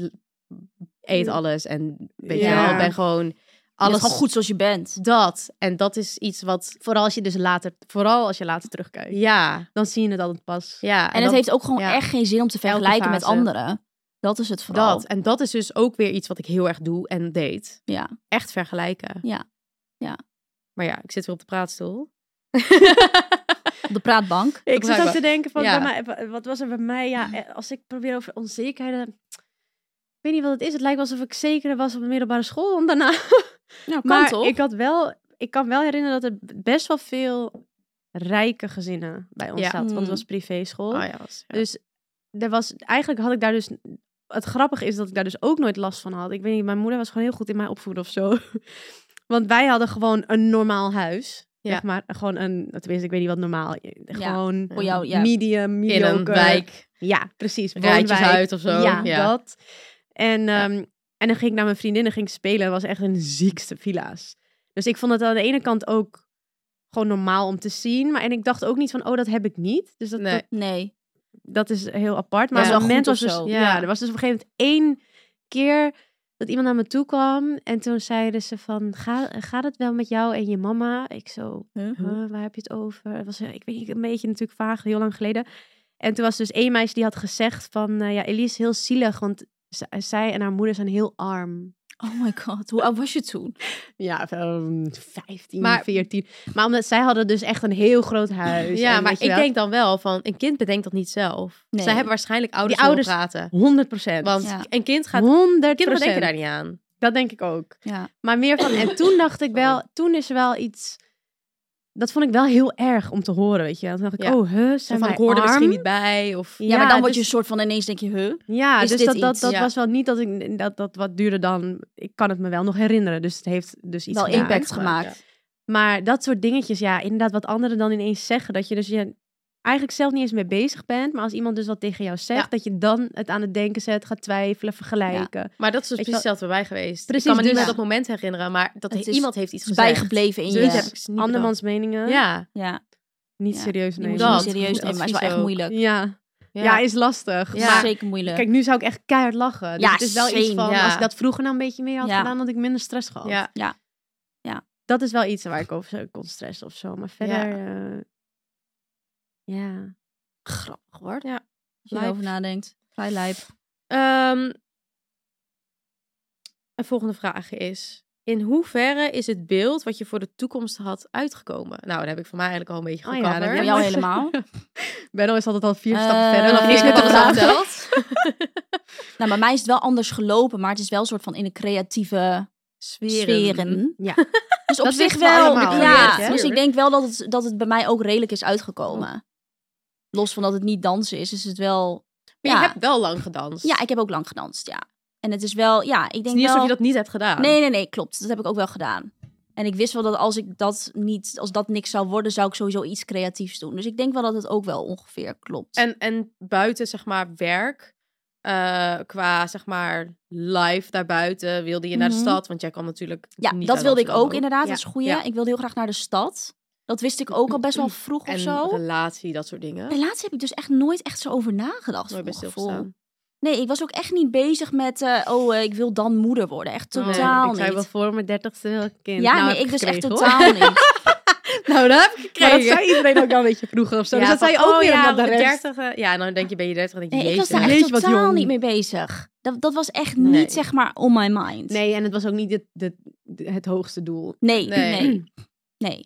D: eet
C: Mm.
E: Ja.
D: alles. En weet je
E: Ja.
D: wel, ben gewoon
C: Alles
D: alles...
C: gewoon goed zoals je bent.
D: Dat. En dat is iets wat,
E: Vooral als je dus later, vooral als je later terugkijkt.
D: ja,
E: Dan zie je het altijd pas.
D: ja.
C: En, het
D: dan-
C: heeft ook gewoon
D: ja.
C: echt geen zin om te vergelijken met
E: fase.
C: anderen. Dat is het vooral.
D: dat. En dat is dus ook weer iets wat ik heel erg doe en deed.
C: Ja.
D: Echt vergelijken.
C: Ja. Ja.
D: Maar ja, ik zit weer op de praatstoel.
C: Op de praatbank.
E: Ik zat ook
D: Blijkbaar.
E: te denken van,
D: Ja.
E: bij mij, wat was er bij mij? Ja, eh, als ik probeer over onzekerheden... Ik weet niet wat het is. Het lijkt wel alsof ik zekerder was op de middelbare school dan daarna.
C: Nou, kan
E: maar
C: toch?
E: ik had wel... Ik kan wel herinneren dat er best wel veel rijke gezinnen bij ons
D: Ja.
E: zat. Want
C: Mm.
E: het was privéschool.
D: Oh ja, was, ja.
E: Dus er was, eigenlijk had ik daar dus... Het grappige is dat ik daar dus ook nooit last van had. Ik weet niet, mijn moeder was gewoon heel goed in mij opvoeden of zo. Want wij hadden gewoon een normaal huis.
D: Ja.
E: Zeg maar gewoon een, tenminste, ik weet niet wat normaal. Gewoon
C: Voor jou, ja.
E: medium,
D: oh, in
E: mediocre.
D: een wijk,
E: Ja, precies.
D: rijtjesuit
E: woonwijk.
D: of zo.
E: Ja,
D: Ja.
E: dat. En, ehm, en dan ging ik naar mijn vriendinnen ging ik spelen. Het was echt een ziekste villa's. Dus ik vond het aan de ene kant ook gewoon normaal om te zien. Maar en ik dacht ook niet van, oh, dat heb ik niet. Dus dat,
D: Nee.
E: dat,
C: Nee.
E: dat is heel apart.
D: Maar
E: Maar
D: is
E: op
C: wel
E: het
C: goed
E: moment was
C: of
E: dus,
C: zo.
E: ja.
D: Ja.
E: er was dus op een gegeven moment één keer dat iemand naar me toe kwam. En toen zeiden ze van, Ga, gaat het wel met jou en je mama? Ik zo, Huh, waar heb je het over? Het was, eh, ik weet niet, een beetje natuurlijk vaag, heel lang geleden. En toen was er dus één meisje die had gezegd van, eh, ja, Elise is heel zielig, want z- zij en haar moeder zijn heel arm.
C: Oh my god. Hoe oud was je toen?
E: Ja, um, 15,
D: Maar-
E: 14. Maar omdat zij hadden dus echt een heel groot huis.
D: ja,
E: en
D: maar
E: weet
D: ik
E: je wel,
D: denk dan wel van, een kind bedenkt dat niet zelf.
C: Nee.
D: Zij hebben waarschijnlijk ouders,
E: Die
D: horen
E: ouders-
D: praten.
E: 100 procent.
D: Want
C: Ja.
D: een kind gaat...
E: 100
D: Kinderen denken daar niet aan.
E: Dat denk ik ook.
C: Ja.
E: Maar meer van, en toen dacht ik wel, toen is wel iets... Dat vond ik wel heel erg om te horen, weet je. wel. Toen dacht ik,
D: Ja.
E: oh, huh,
D: Zo
E: zijn
D: van, ik
E: wij
D: hoorde
E: arm?
D: misschien niet bij. Of...
C: Ja, maar dan word je
E: dus-
C: een soort van ineens denk je, huh?
E: Ja,
C: Is
E: dus
C: dit
E: dat, dat,
C: iets?
E: dat
D: Ja.
E: was wel niet dat ik dat, dat wat duurde dan. Ik kan het me wel nog herinneren, dus het heeft dus iets
C: Wel
E: gedaan.
C: impact
D: maar-
C: gemaakt.
E: Maar dat soort dingetjes, ja, inderdaad, wat anderen dan ineens zeggen. Dat je dus je eigenlijk zelf niet eens mee bezig bent, maar als iemand dus wat tegen jou zegt,
D: Ja.
E: dat je dan het aan het denken zet, gaat twijfelen, vergelijken.
D: Maar dat is dus
E: Weet
D: precies
E: je
D: hetzelfde bij mij geweest.
E: Precies,
D: ik kan me niet
E: dus-
D: meer dat moment herinneren, maar dat
C: Het is-
D: iemand heeft iets
C: Het is
D: gezegd.
C: bijgebleven in
D: Dus
C: je.
D: heb ik ze niet
E: Andermans meningen,
D: bedacht. Ja,
C: Ja.
E: niet
C: Ja,
E: serieus
C: Die moet
E: nemen.
C: je niet
D: Dat,
C: serieus
D: goed
C: nemen, maar het is wel
D: advies
C: echt
D: ook.
C: moeilijk.
E: Ja.
D: ja.
E: Ja. is lastig.
C: Het
D: Ja.
C: is
E: Maar
C: zeker moeilijk.
E: kijk, nu zou ik echt keihard lachen. Dus
C: Ja,
E: het is wel iets
C: same.
E: van,
D: Ja.
E: als ik dat vroeger nou een beetje meer had
C: Ja.
E: gedaan, had ik minder stress gehad.
D: Ja.
E: dat is wel iets waar ik over zou- kon stressen of zo. Maar verder, eh, Ja.
D: Grappig hoor. Ja.
C: Als je
D: Lijp.
C: erover nadenkt. Vrij lijp.
D: Ehm, een volgende vraag is: In hoeverre is het beeld wat je voor de toekomst had uitgekomen? Nou, dat heb ik voor mij eigenlijk al een beetje
E: Oh ja, dat
D: gecoverd.
E: heb
C: Voor jou helemaal.
D: Benno is altijd al vier
C: Eh,
D: stappen verder. en dan
C: is
D: vier
C: met
D: stappen
C: ons
D: achter.
C: nou, bij mij is het wel anders gelopen, maar het is wel een soort van in de creatieve sferen.
E: Ja.
C: Dus op
E: Dat
C: zich
E: weten we
C: wel.
E: allemaal.
C: ja,
E: Geprobeerd, hè?
C: dus ik denk wel dat het, dat het bij mij ook redelijk is uitgekomen. Los van dat het niet dansen is, is het wel...
D: Maar
C: ja.
D: je hebt wel lang gedanst.
C: Ja, ik heb ook lang gedanst, ja. En het is wel, ja, ik
D: het
C: denk
D: is niet
C: wel...
D: alsof je dat niet hebt gedaan.
C: Nee, nee, nee, klopt. Dat heb ik ook wel gedaan. En ik wist wel dat als ik dat niet, als dat niks zou worden, zou ik sowieso iets creatiefs doen. Dus ik denk wel dat het ook wel ongeveer klopt.
D: En, en buiten, zeg maar, werk, eh, qua, zeg maar, live daarbuiten, wilde je naar
C: Mhm.
D: de stad? Want jij kwam natuurlijk
C: ja,
D: niet
C: dat
D: uit
C: wilde ik
D: Amsterdam
C: ook inderdaad.
E: Ja,
C: Dat is een goeie.
D: ja.
C: Ik wilde heel graag naar de stad. Dat wist ik ook al best wel vroeg of
D: En
C: zo.
D: relatie, dat soort dingen.
C: Relatie heb ik dus echt nooit echt zo over nagedacht.
D: Nooit bij
C: voor mijn gevoel.
D: stilgestaan.
C: Nee, ik was ook echt niet bezig met, eh, oh, eh, ik wil dan moeder worden. Echt
D: Nee,
C: totaal
E: ik zou wel
C: niet.
E: voor mijn dertigste wel een kind.
C: Ja,
E: Nou,
C: nee,
E: heb
C: ik dus echt
E: gekregen, hoor.
C: totaal niet.
E: Nou, dat heb ik
D: Maar
E: gekregen.
D: dat zei iedereen ook wel een beetje vroeger of zo.
E: Ja,
D: dus dat
E: van,
D: zei je ook
E: oh
D: weer
E: ja,
D: omdat de
E: de
D: rest... ja, en dan denk je, ben je 30 en denk je,
C: Nee, ik was
D: jezus.
C: daar echt
E: Jeetje, wat
C: totaal
E: jong.
C: niet mee bezig. Dat, dat was echt
D: Nee.
C: niet, zeg maar, on my mind.
E: Nee, en het was ook niet het, het, het hoogste doel.
C: Nee, nee.
D: Nee.
C: nee.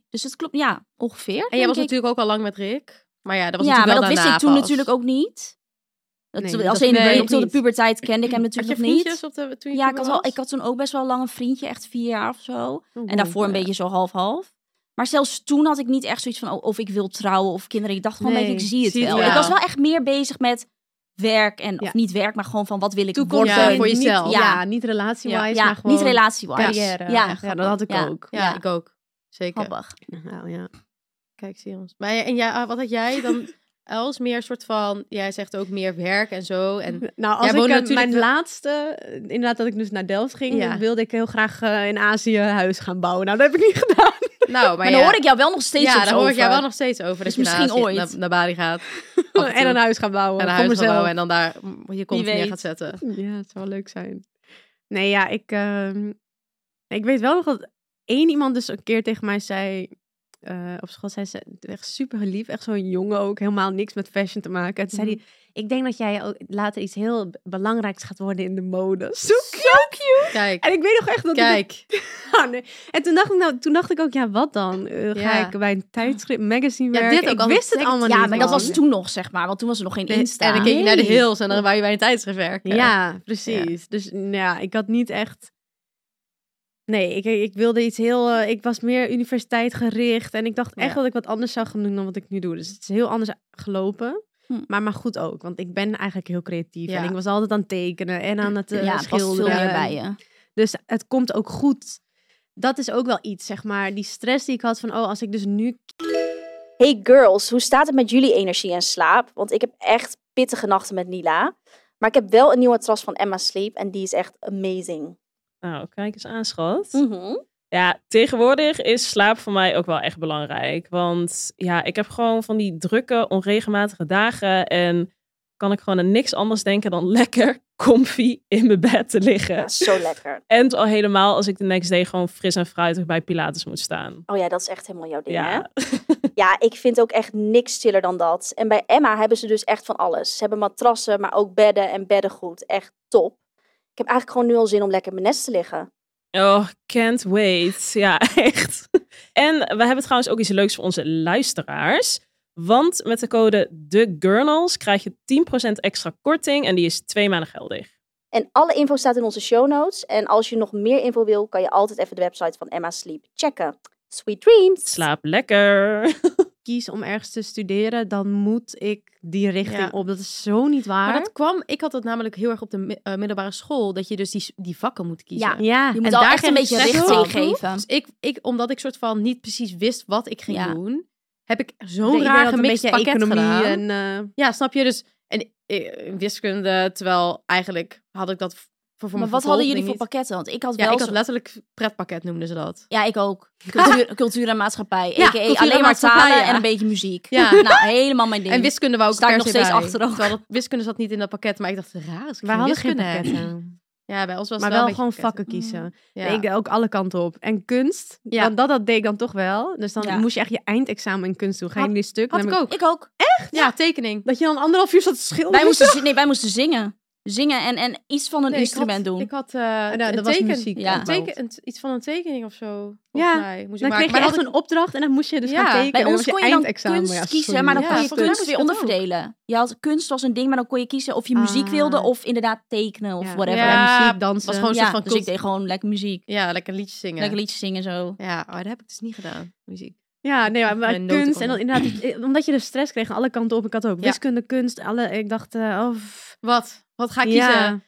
C: Dus het klopt, ja, ongeveer.
D: En jij was
C: denk ik.
D: natuurlijk ook al lang met Rick. Maar ja, dat was
C: Ja, maar
D: natuurlijk
C: dat
D: wel
C: wist ik
D: daarna
C: toen
D: pas.
C: natuurlijk ook niet. Dat,
E: Nee,
C: als
E: dat-
C: in
D: nee,
C: tot de
E: niet.
C: puberteit kende ik hem
D: Had je
C: natuurlijk nog
D: vriendjes
C: niet.
D: op de, toen je
C: Ja, ik
D: puber
C: had, wel,
D: was?
C: ik had toen ook best wel lang een vriendje, echt vier jaar of zo. En daarvoor een beetje zo half-half. Maar zelfs toen had ik niet echt zoiets van, oh, of ik wil trouwen of kinderen. Ik dacht gewoon,
E: Nee,
C: een beetje, ik zie het,
D: zie het
C: wel.
D: wel.
C: Ik was wel echt meer bezig met werk en,
E: Ja.
C: of niet werk, maar gewoon van wat wil ik
E: Toekomst
C: worden.
D: ja,
E: voor
D: niet-
E: jezelf.
C: ja.
E: ja. niet relatie-wise,
C: Ja,
E: maar gewoon
C: niet relatie-wise.
E: carrière.
C: Ja,
E: echt. ja, dat had ik
C: Ja.
E: ook.
D: Ja,
C: ja.
D: ik ook. Zeker.
C: grappig.
E: Nou, ja.
D: Kijk, zie je ons. Maar ja, en jij, wat had jij dan... Els, meer soort van, jij zegt ook meer werk en zo. En
E: Nou, als
D: Jij
E: ik
D: woonde
E: eh,
D: natuurlijk
E: mijn
D: wel-
E: laatste, eh, inderdaad dat ik dus naar Delft ging,
D: Ja.
E: wilde ik heel graag eh, in Azië een huis gaan bouwen. Nou, dat heb ik niet gedaan.
D: nou, maar,
C: Maar dan
D: ja,
C: hoor ik jou wel nog steeds
D: ja,
C: soms
D: daar hoor ik
C: over.
D: jou wel nog steeds over. dat
C: Dus
D: je naar
C: misschien
D: Azië-
C: ooit.
D: naar- naar Bali gaat. Af
E: en een huis gaan bouwen.
D: En een
E: voor
D: huis gaan
E: mezelf.
D: bouwen en dan daar mm, je kont neer
C: weet.
D: gaat zetten.
E: Ja, het zou wel leuk zijn. Nee, ja, ik, ehm, ik weet wel nog dat één iemand dus een keer tegen mij zei... eh, op school zei ze, echt super lief, echt zo'n jongen ook, helemaal niks met fashion te maken. En toen
D: Mhm.
E: zei hij, ik denk dat jij ook later iets heel b- belangrijks gaat worden in de mode. Zo cute!
D: Kijk,
E: En ik weet nog echt dat...
D: kijk.
E: Ah, nee. En toen dacht, ik, nou, toen dacht ik ook, ja, wat dan? Eh, ga
D: Ja.
E: ik bij een tijdschrift, magazine
D: Ja,
E: werken?
D: dit ook
E: ik
D: al
E: wist het
D: ontdekt.
E: allemaal
C: Ja,
E: niet,
C: maar dat
E: man.
C: was toen nog, zeg maar. Want toen was er nog geen Insta.
D: En dan keek je naar de
E: Nee.
D: hills en dan wou je bij een tijdschrift werken.
E: Ja, precies. Dus nou ja, ik had niet echt. Nee, ik, ik wilde iets heel. eh, ik was meer universiteitgericht. En ik dacht echt
D: Ja.
E: dat ik wat anders zou gaan doen dan wat ik nu doe. Dus het is heel anders gelopen.
C: Hm.
E: Maar, maar goed ook, want ik ben eigenlijk heel creatief. En
D: Ja.
E: ik was altijd aan het tekenen en aan het eh,
C: ja, het past veel
E: schilderen.
C: meer bij je.
E: Dus het komt ook goed. Dat is ook wel iets, zeg maar. Die stress die ik had van, oh, als ik dus nu
C: Hey girls, hoe staat het met jullie energie en slaap? Want ik heb echt pittige nachten met Nila. Maar ik heb wel een nieuwe matras van Emma Sleep en die is echt amazing.
G: Nou, kijk eens aan, schat. Ja, tegenwoordig is slaap voor mij ook wel echt belangrijk. Want ja, ik heb gewoon van die drukke, onregelmatige dagen. En kan ik gewoon aan niks anders denken dan lekker comfy in mijn bed te liggen.
H: Ja, zo lekker.
G: En het al helemaal als ik de next day gewoon fris en fruitig bij Pilates moet staan.
H: Oh ja, dat is echt helemaal jouw ding, hè?
G: Ja,
H: Ja, ik vind ook echt niks stiller dan dat. En bij Emma hebben ze dus echt van alles. Ze hebben matrassen, maar ook bedden en beddengoed. Echt top. Ik heb eigenlijk gewoon nu al zin om lekker in mijn nest te liggen.
G: Oh, can't wait. Ja, echt. En we hebben trouwens ook iets leuks voor onze luisteraars. Want met de code TheGurnals krijg je 10% extra korting en die is twee maanden geldig.
H: En alle info staat in onze show notes. En als je nog meer info wil, kan je altijd even de website van Emma Sleep checken. Sweet dreams!
G: Slaap lekker.
E: kies om ergens te studeren, dan moet ik die richting
D: Ja.
E: op. Dat is zo niet waar.
D: Maar dat kwam, ik had dat namelijk heel erg op de mi- eh, middelbare school, dat je dus die, s- die vakken moet kiezen.
C: Ja.
E: ja,
C: Je moet
D: En
C: al
D: daar
C: echt een
D: krijg je
C: beetje
D: stress
C: richting
D: van.
C: geven.
D: Dus ik, ik, omdat ik soort van niet precies wist wat ik ging
C: Ja.
D: doen, heb ik zo'n
E: Nee, ik
D: raar
E: ben altijd een
D: gemixt
E: beetje
D: pakket
E: economie
D: gedaan.
E: en eh,
D: Ja, snap je? Dus en, eh, wiskunde, terwijl eigenlijk had ik dat voor, voor
C: Maar
D: mijn
C: wat hadden
D: vervolging
C: jullie voor
D: niet.
C: pakketten? Want ik had
D: Ja,
C: wel...
D: ik
C: zo-
D: had letterlijk pretpakket noemden ze dat.
C: Ja, ik ook. Cultuur, cultuur en maatschappij.
D: Ja,
C: a.k.a.
D: cultuur en
C: alleen maar
D: maatschappij,
C: talen
D: ja.
C: en een beetje muziek.
D: Ja.
C: Nou, helemaal mijn ding.
D: En wiskunde wou ik
C: Sta ik
D: er
C: nog
D: per se
C: steeds
D: bij.
C: achter ook.
D: Terwijl dat, wiskunde zat niet in dat pakket, maar ik dacht, raar, is
E: we hadden geen pakketten.
D: Ja, bij ons was
E: maar
D: het wel,
E: wel
D: een
E: gewoon
D: beetje
E: vakken
D: pakketten.
E: kiezen.
D: Ja.
E: Nee, ik deed ook alle kanten op. En kunst,
D: Ja.
E: want dat, dat deed ik dan toch wel. Dus dan
C: Ja.
E: moest je echt je eindexamen in kunst doen. Ga je
D: Had-
E: nu stuk?
D: had
E: Dan
D: ik
E: heb
D: ook.
C: Ik ook.
D: Ja, tekening.
E: Dat je dan anderhalf uur zat te schilderen.
C: Wij moesten, zi- nee, wij moesten zingen. Zingen en, en iets van een
D: Nee, ik
C: instrument
D: had-
C: doen.
D: Ik had eh
E: nou,
D: een
E: dat was
D: teken-
E: muziek
C: ja.
D: een
E: ook wel.
D: teken, een- iets van een tekening of zo.
E: Ja,
D: Ja, mij. Moest ik
E: Dan
D: maken.
E: kreeg
D: Maar
E: je
D: had
E: echt een opdracht en dan moest je dus
D: Ja.
E: gaan tekenen.
C: Bij
E: Dan
C: ons
E: was
C: kon je dan
E: eindexamen.
C: kunst
E: Ja,
C: kiezen,
E: sorry.
C: maar dan
D: Ja,
C: kon je
D: volgens mij
C: kunst
D: was
C: weer
D: het dat
C: onderverdelen. Je had, kunst was een ding, maar dan kon je kiezen of je muziek
E: Ah.
C: wilde of inderdaad tekenen of
E: Ja.
C: whatever.
D: Ja,
E: Ja, muziek, dansen.
D: was gewoon- een
C: Ja,
D: soort van
C: dus ik
D: cult-
C: deed gewoon lekker muziek.
D: ja, lekker liedjes zingen.
C: Lekker liedjes zingen zo.
D: Ja, oh, dat heb ik dus niet gedaan. Muziek.
E: Ja, nee, maar, maar
D: Mijn noten
E: kunst. En dan
D: konden.
E: inderdaad, ik- omdat je de stress kreeg aan alle kanten op. Ik had ook
D: Ja.
E: wiskunde, kunst. Alle, ik dacht, eh, oh, pff,
D: Wat? Wat ga ik
E: ja,
D: kiezen?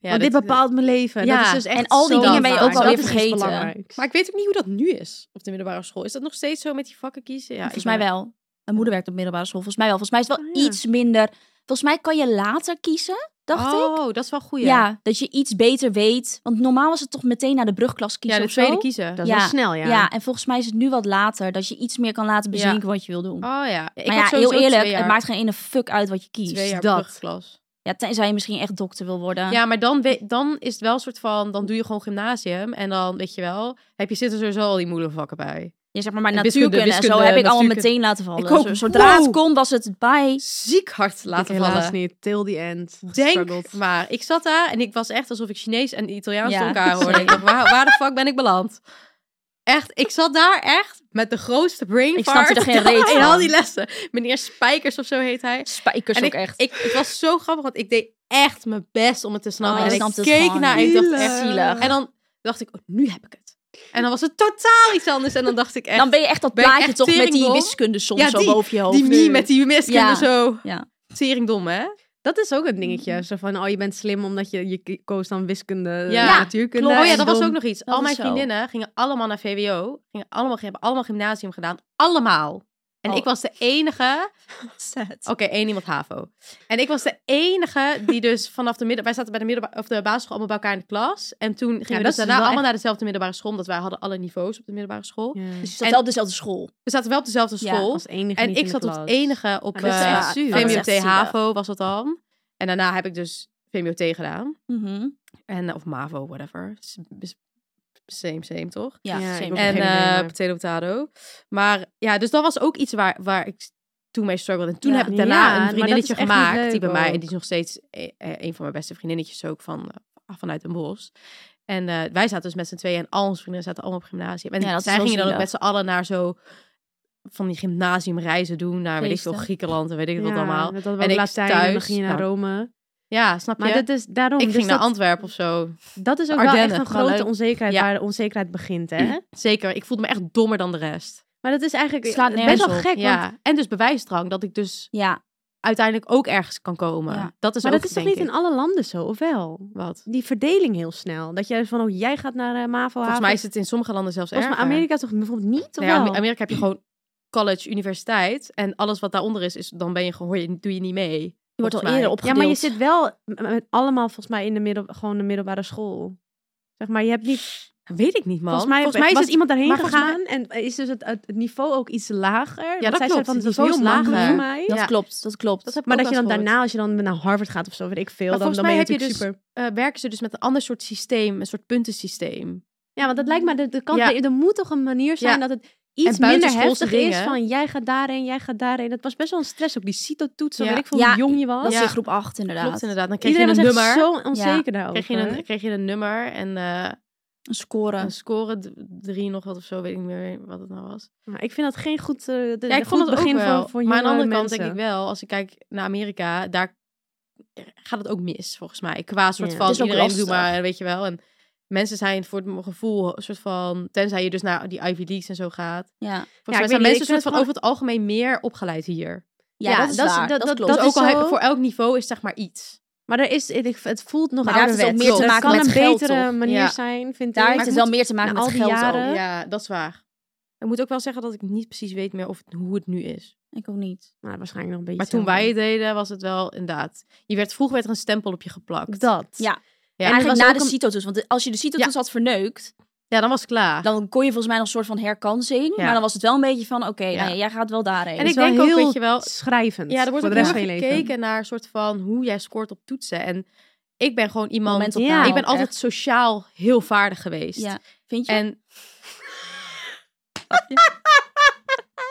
E: want dit bepaalt mijn leven.
D: Ja,
E: Dat is dus echt
C: en al die
E: zo
C: dingen ben je
E: waar.
C: ook alweer
E: Dat is dus iets
C: vergeten.
E: belangrijks.
D: Maar ik weet ook niet hoe dat nu is op de middelbare school. Is dat nog steeds zo met die vakken kiezen? Ja,
C: volgens
D: ik ben-
C: mij wel. Mijn moeder werkt op middelbare school. Volgens mij wel. Volgens mij is het wel
E: Oh, ja.
C: iets minder. Volgens mij kan je later kiezen, dacht ik.
D: oh, dat is wel goed. Ja,
C: Ja, dat je iets beter weet. Want normaal was het toch meteen naar de brugklas
D: ja
C: kiezen
D: de
C: of zo.
D: tweede kiezen.
E: Dat is
C: Ja.
E: wel snel, ja.
C: ja. en volgens mij is het nu wat later. Dat je iets meer kan laten
D: Ja.
C: bezinken wat je wil doen.
D: Oh ja. Ik
C: maar
D: had
C: ja,
D: sowieso
C: heel eerlijk,
D: twee jaar,
C: het maakt geen ene fuck uit wat je kiest.
D: twee jaar
C: dat.
D: brugklas.
C: Ja, tenzij je misschien echt dokter wil worden.
D: Ja, maar dan, we- dan is het wel een soort van, dan doe je gewoon gymnasium en dan weet je wel, heb je zitten sowieso al die moeilijke vakken bij.
C: Je zegt maar, maar
D: En wiskunde,
C: natuurkunde en zo
D: wiskunde,
C: heb ik allemaal
D: natuurkunde.
C: meteen laten vallen.
D: Ik ook.
C: Zo- Zodra het
D: Wow.
C: kon was het bij.
D: Ziek hard
E: Laat
D: laten
E: helaas
D: vallen.
E: niet. Till the end.
D: Denk
E: Gestruggeld.
D: maar, ik zat daar en ik was echt alsof ik Chinees en Italiaans
C: Ja.
D: door elkaar hoorde. Ik dacht, waar, waar de fuck ben ik beland? Echt, ik zat daar echt met de grootste brain
C: Ik snapte er
D: fart
C: geen reet
D: in
C: van.
D: al die lessen. Meneer Spijkers of zo heet hij.
C: Spijkers
D: en
C: ook
D: ik,
C: echt.
D: Ik, het was zo grappig, want ik deed echt mijn best om het te snappen.
C: Oh, je
D: en ik
C: snapt het
D: keek
C: gewoon
D: naar en ik
C: niet.
D: dacht
E: Zielig.
D: echt
C: Zielig.
D: En dan dacht ik, oh, nu heb ik het. En dan was het totaal iets anders. En dan dacht ik echt,
C: Dan ben je echt dat
D: ben ik
C: plaatje
D: echt
C: toch met die
D: teringbom.
C: wiskunde soms
D: Ja,
C: zo
D: die-
C: boven je hoofd.
D: die mie met die wiskunde
C: Ja.
D: zo.
C: Ja.
D: Teringdom, hè?
E: Dat is ook een dingetje. Zo van, oh, je bent slim omdat je, je ki- koos dan wiskunde,
D: Ja,
E: natuurkunde.
C: klopt.
D: Oh ja,
E: en
D: dat was
E: dom.
D: ook nog iets.
C: Dat
D: Al
C: is
D: mijn
C: zo.
D: vriendinnen gingen allemaal naar VWO. Gingen allemaal, hebben allemaal gymnasium gedaan. Allemaal. En
C: Oh.
D: ik was de enige... Oké, één iemand HAVO. En ik was de enige die dus vanaf de midden... Wij zaten bij de, middelba- of de basisschool allemaal bij elkaar in de klas. En toen gingen we
E: dat
D: dus
E: is
D: daarna
E: wel
D: allemaal
E: echt-
D: naar dezelfde middelbare school. Omdat wij hadden alle niveaus op de middelbare school.
E: Ja.
C: Dus je zat
D: Mm. En-
C: wel op dezelfde school.
D: We zaten wel op dezelfde
C: Ja,
D: school.
E: Als enige
D: en
E: niet
D: ik
E: in de
D: zat op
E: klas.
D: het enige op
E: Ja, dat is
D: eh,
E: echt zuur.
C: Dat is echt
D: VMBOT
C: zielig.
D: HAVO was dat dan. En daarna heb ik dus VMBOT gedaan.
C: Mhm.
D: En, of MAVO, whatever. S- s- Same, same, toch?
C: Ja,
E: Ja,
C: same.
E: ik ook.
D: En
E: geen idee,
D: eh,
E: maar-
D: potato potato. Maar ja, dus dat was ook iets waar, waar ik toen mee struggled. En toen
C: Ja.
D: heb ik daarna
E: Ja, maar
D: een
E: dat
D: vriendinnetje
E: is echt niet
D: gemaakt. die
E: leuk
D: bij mij,
E: ook.
D: en die is nog steeds eh, eh, een van mijn beste vriendinnetjes ook van, eh, vanuit een bos. En eh, wij zaten dus met z'n tweeën en al onze vrienden zaten allemaal op gymnasium. En
C: Ja, dat is
D: zij
C: wel
D: gingen dan ook
C: zielig.
D: met z'n allen naar zo van die gymnasiumreizen doen. Naar, weet ik veel,
C: Feesten.
D: Griekenland en weet ik wat
E: Ja,
D: allemaal.
E: Dat hadden we
D: En
E: ook
D: ik
E: laatst thuis. En dan
D: thuis,
E: ging je naar
D: nou,
E: Rome.
D: Ja, snap
E: Maar
D: je?
E: dat is daarom.
D: ik
E: dus
D: ging naar
E: dat,
D: Antwerpen of zo.
E: Dat is ook wel
D: Ardennen,
E: echt een
D: gewoon
E: grote
D: leuk.
E: onzekerheid
D: Ja. Mm.
E: waar de onzekerheid begint, hè?
D: Zeker, ik voelde me echt dommer dan de rest.
E: Maar dat is eigenlijk
C: Het slaat
E: best
C: nergens
E: wel
C: op.
E: gek.
D: ja,
E: want-
D: en dus bewijsdrang dat ik dus
C: Ja,
D: uiteindelijk ook ergens kan komen.
C: Ja.
D: Dat is
E: maar
D: ook,
E: dat is toch
D: denk
E: niet in
D: ik.
E: alle landen zo, of wel?
D: Wat?
E: Die verdeling heel snel. Dat je van, oh, jij gaat naar eh, MAVO
D: Volgens
E: HAVO.
D: mij is het in sommige landen zelfs
E: Volgens mij
D: erger.
E: Amerika toch bijvoorbeeld niet, of
D: Nee, Amer-
E: wel?
D: Amerika heb je gewoon college, universiteit. En alles wat daaronder is, is dan ben je gewoon, hoor je, doe je niet mee.
C: je wordt al
D: Volgens mij.
C: eerder opgedeeld.
E: Ja, maar je zit wel m- met allemaal volgens mij in de middel, gewoon de middelbare school. Zeg maar, je hebt niet.
D: Dat weet ik niet, man.
E: volgens mij,
D: is
E: was
D: het-
E: iemand daarheen
D: maar volgens
E: gegaan en is dus het, het het niveau ook iets lager. Want
D: dat
E: zij zei
D: klopt.
E: Van,
D: Het
E: het
D: niveau
E: niveau
D: is
E: is lager
D: lager.
E: voor mij.
C: Dat
D: Ja.
C: klopt, dat klopt.
D: Dat heb ik
E: Maar
D: ook
E: dat je dan
D: wel eens
E: daarna, als je dan naar Harvard gaat of zo, weet ik veel,
D: Maar
E: dan,
D: volgens
E: dan ben je
D: mij heb je
E: natuurlijk
D: dus-
E: super.
D: gehoord. Eh, werken ze dus met een ander soort systeem, een soort puntensysteem.
E: Ja, want dat lijkt me, de, de kant,
D: Ja.
E: er moet toch een manier zijn
D: Ja.
E: dat het iets minder
D: buitenschoolse
E: heftig is
D: dingen.
E: van jij gaat daarheen, jij gaat daarheen. Dat was best wel een stress ook, die CITO-toets, zo
D: Ja.
E: weet ik veel
C: Ja,
E: hoe jong je was.
C: Dat is in
D: Ja.
C: groep 8 inderdaad.
D: Klopt inderdaad. Dan kreeg
E: Iedereen was
D: je
E: echt
D: een nummer.
E: zo onzeker daarover.
D: Kreeg je, een, kreeg je een nummer en eh,
C: Een score.
D: een score, d- drie nog wat of zo, weet ik niet meer wat het nou was.
E: Maar ik vind dat geen goed, eh, de,
D: Ja, ik
E: goed
D: vond het ook
E: begin
D: wel.
E: voor, voor
D: maar aan de
E: jonge
D: andere kant
E: mensen.
D: denk ik wel, als ik kijk naar Amerika, daar gaat het ook mis, volgens mij. Qua soort
E: Ja.
D: van,
C: Het is ook
D: iedereen
C: lastig.
D: doet maar, weet je wel. En mensen zijn voor mijn gevoel een soort van, tenzij je dus naar die Ivy Leagues en zo gaat.
C: Ja.
D: Volgens mij
E: ik
D: zijn
E: weet niet, ik
D: mensen
E: vind
D: een soort
E: het
D: van
E: gewoon-
D: over het algemeen meer opgeleid hier.
C: Ja,
E: Ja,
C: dat is
E: dat is-
C: waar.
E: dat-
C: Dat,
E: dat-
C: klopt.
E: dat
D: dus
E: is
D: ook al heb-
E: zo.
D: voor elk niveau is zeg maar iets.
E: Maar er is, ik- het voelt nog
C: Maar daar heeft het ook
E: ouderwets.
C: meer te maken
E: Het kan
C: met
E: een
C: geld,
E: betere
C: toch?
E: manier
D: Ja.
E: zijn, vind
C: Daar heeft
E: ik. Maar
C: het
E: ik
C: wel meer te maken
E: na
C: met
E: al die
C: geld
E: jaren-
C: ook.
D: Ja, dat is waar. Ik moet ook wel zeggen dat ik niet precies weet meer of het, hoe het nu is.
C: Ik ook niet.
E: moet- nou, waarschijnlijk nog een beetje
D: Maar toen
E: hetzelfde.
D: wij het deden, was het wel inderdaad. Je werd, vroeger werd er een stempel op je geplakt.
E: Dat.
C: Ja.
D: Ja, en
C: en
D: het was
C: eigenlijk na
D: ook
C: de
D: een-
C: CITO-toets. Want de- als je de CITO-toets had verneukt,
D: ja, dan was het klaar.
C: dan kon je volgens mij nog een soort van herkansing.
D: Ja.
C: Maar dan was het wel een beetje van, oké,
D: Ja.
C: nou ja, jij gaat wel
D: En
C: daarheen.
E: Het
D: ik
E: is wel
D: denk ook,
E: heel
D: weet je wel-
E: schrijvend
D: ja, er wordt ook
E: voor de
D: heel erg
E: rest van je leven.
D: gekeken naar soort van hoe jij scoort op toetsen. En ik ben gewoon iemand...
C: Moment opname
D: Ik ben
C: ook
D: altijd
C: echt.
D: sociaal heel vaardig geweest.
C: Ja, vind je?
D: En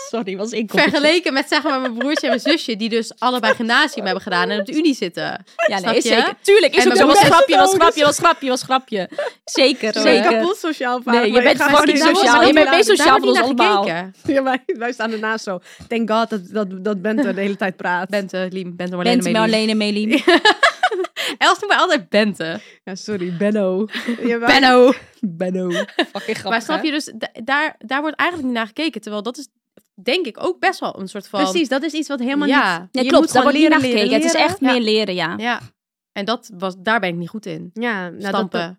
E: Sorry, was ik
D: vergeleken met zeg maar mijn broertje en mijn zusje, die dus allebei gymnasium hebben gedaan en op de unie zitten.
C: ja,
D: snap
C: nee,
D: je?
C: zeker. Tuurlijk, is
D: En
C: ook
D: dan
C: zo. Was
D: ben je
C: grapje, was
D: zo-
C: grapje, was grapje, was grapje. Zeker.
D: Zeker.
C: hoor.
E: kapot sociaal vaak.
C: Nee, je bent gewoon niet sociaal. Je bent meest sociaal van ons allemaal.
E: Ja, maar wij staan ernaast zo. Thank god dat, dat, dat Bente de hele tijd praat.
D: Bente, Liem, Bente Marlene,
C: Bent
D: Bente Marlene.
C: alleen en Melie.
D: Els noemt mij altijd Bente.
E: Ja, sorry, Benno. Ja, maar-
D: Benno.
E: Benno.
G: Fucking grappig.
D: Maar snap je, dus da- daar, daar wordt eigenlijk niet naar gekeken. Terwijl dat is, denk ik, ook best wel een soort van...
F: Precies, dat is iets wat helemaal
D: Ja.
F: niet...
C: Ja,
F: je
C: klopt.
F: moet gewoon
C: Daar wordt niet naar
F: leren, leren,
C: gekeken. Het is
F: leren.
C: echt meer leren, ja.
D: Ja. En dat was, daar ben ik niet goed in.
E: Ja, nou, dat,
D: Stampen.
E: dat,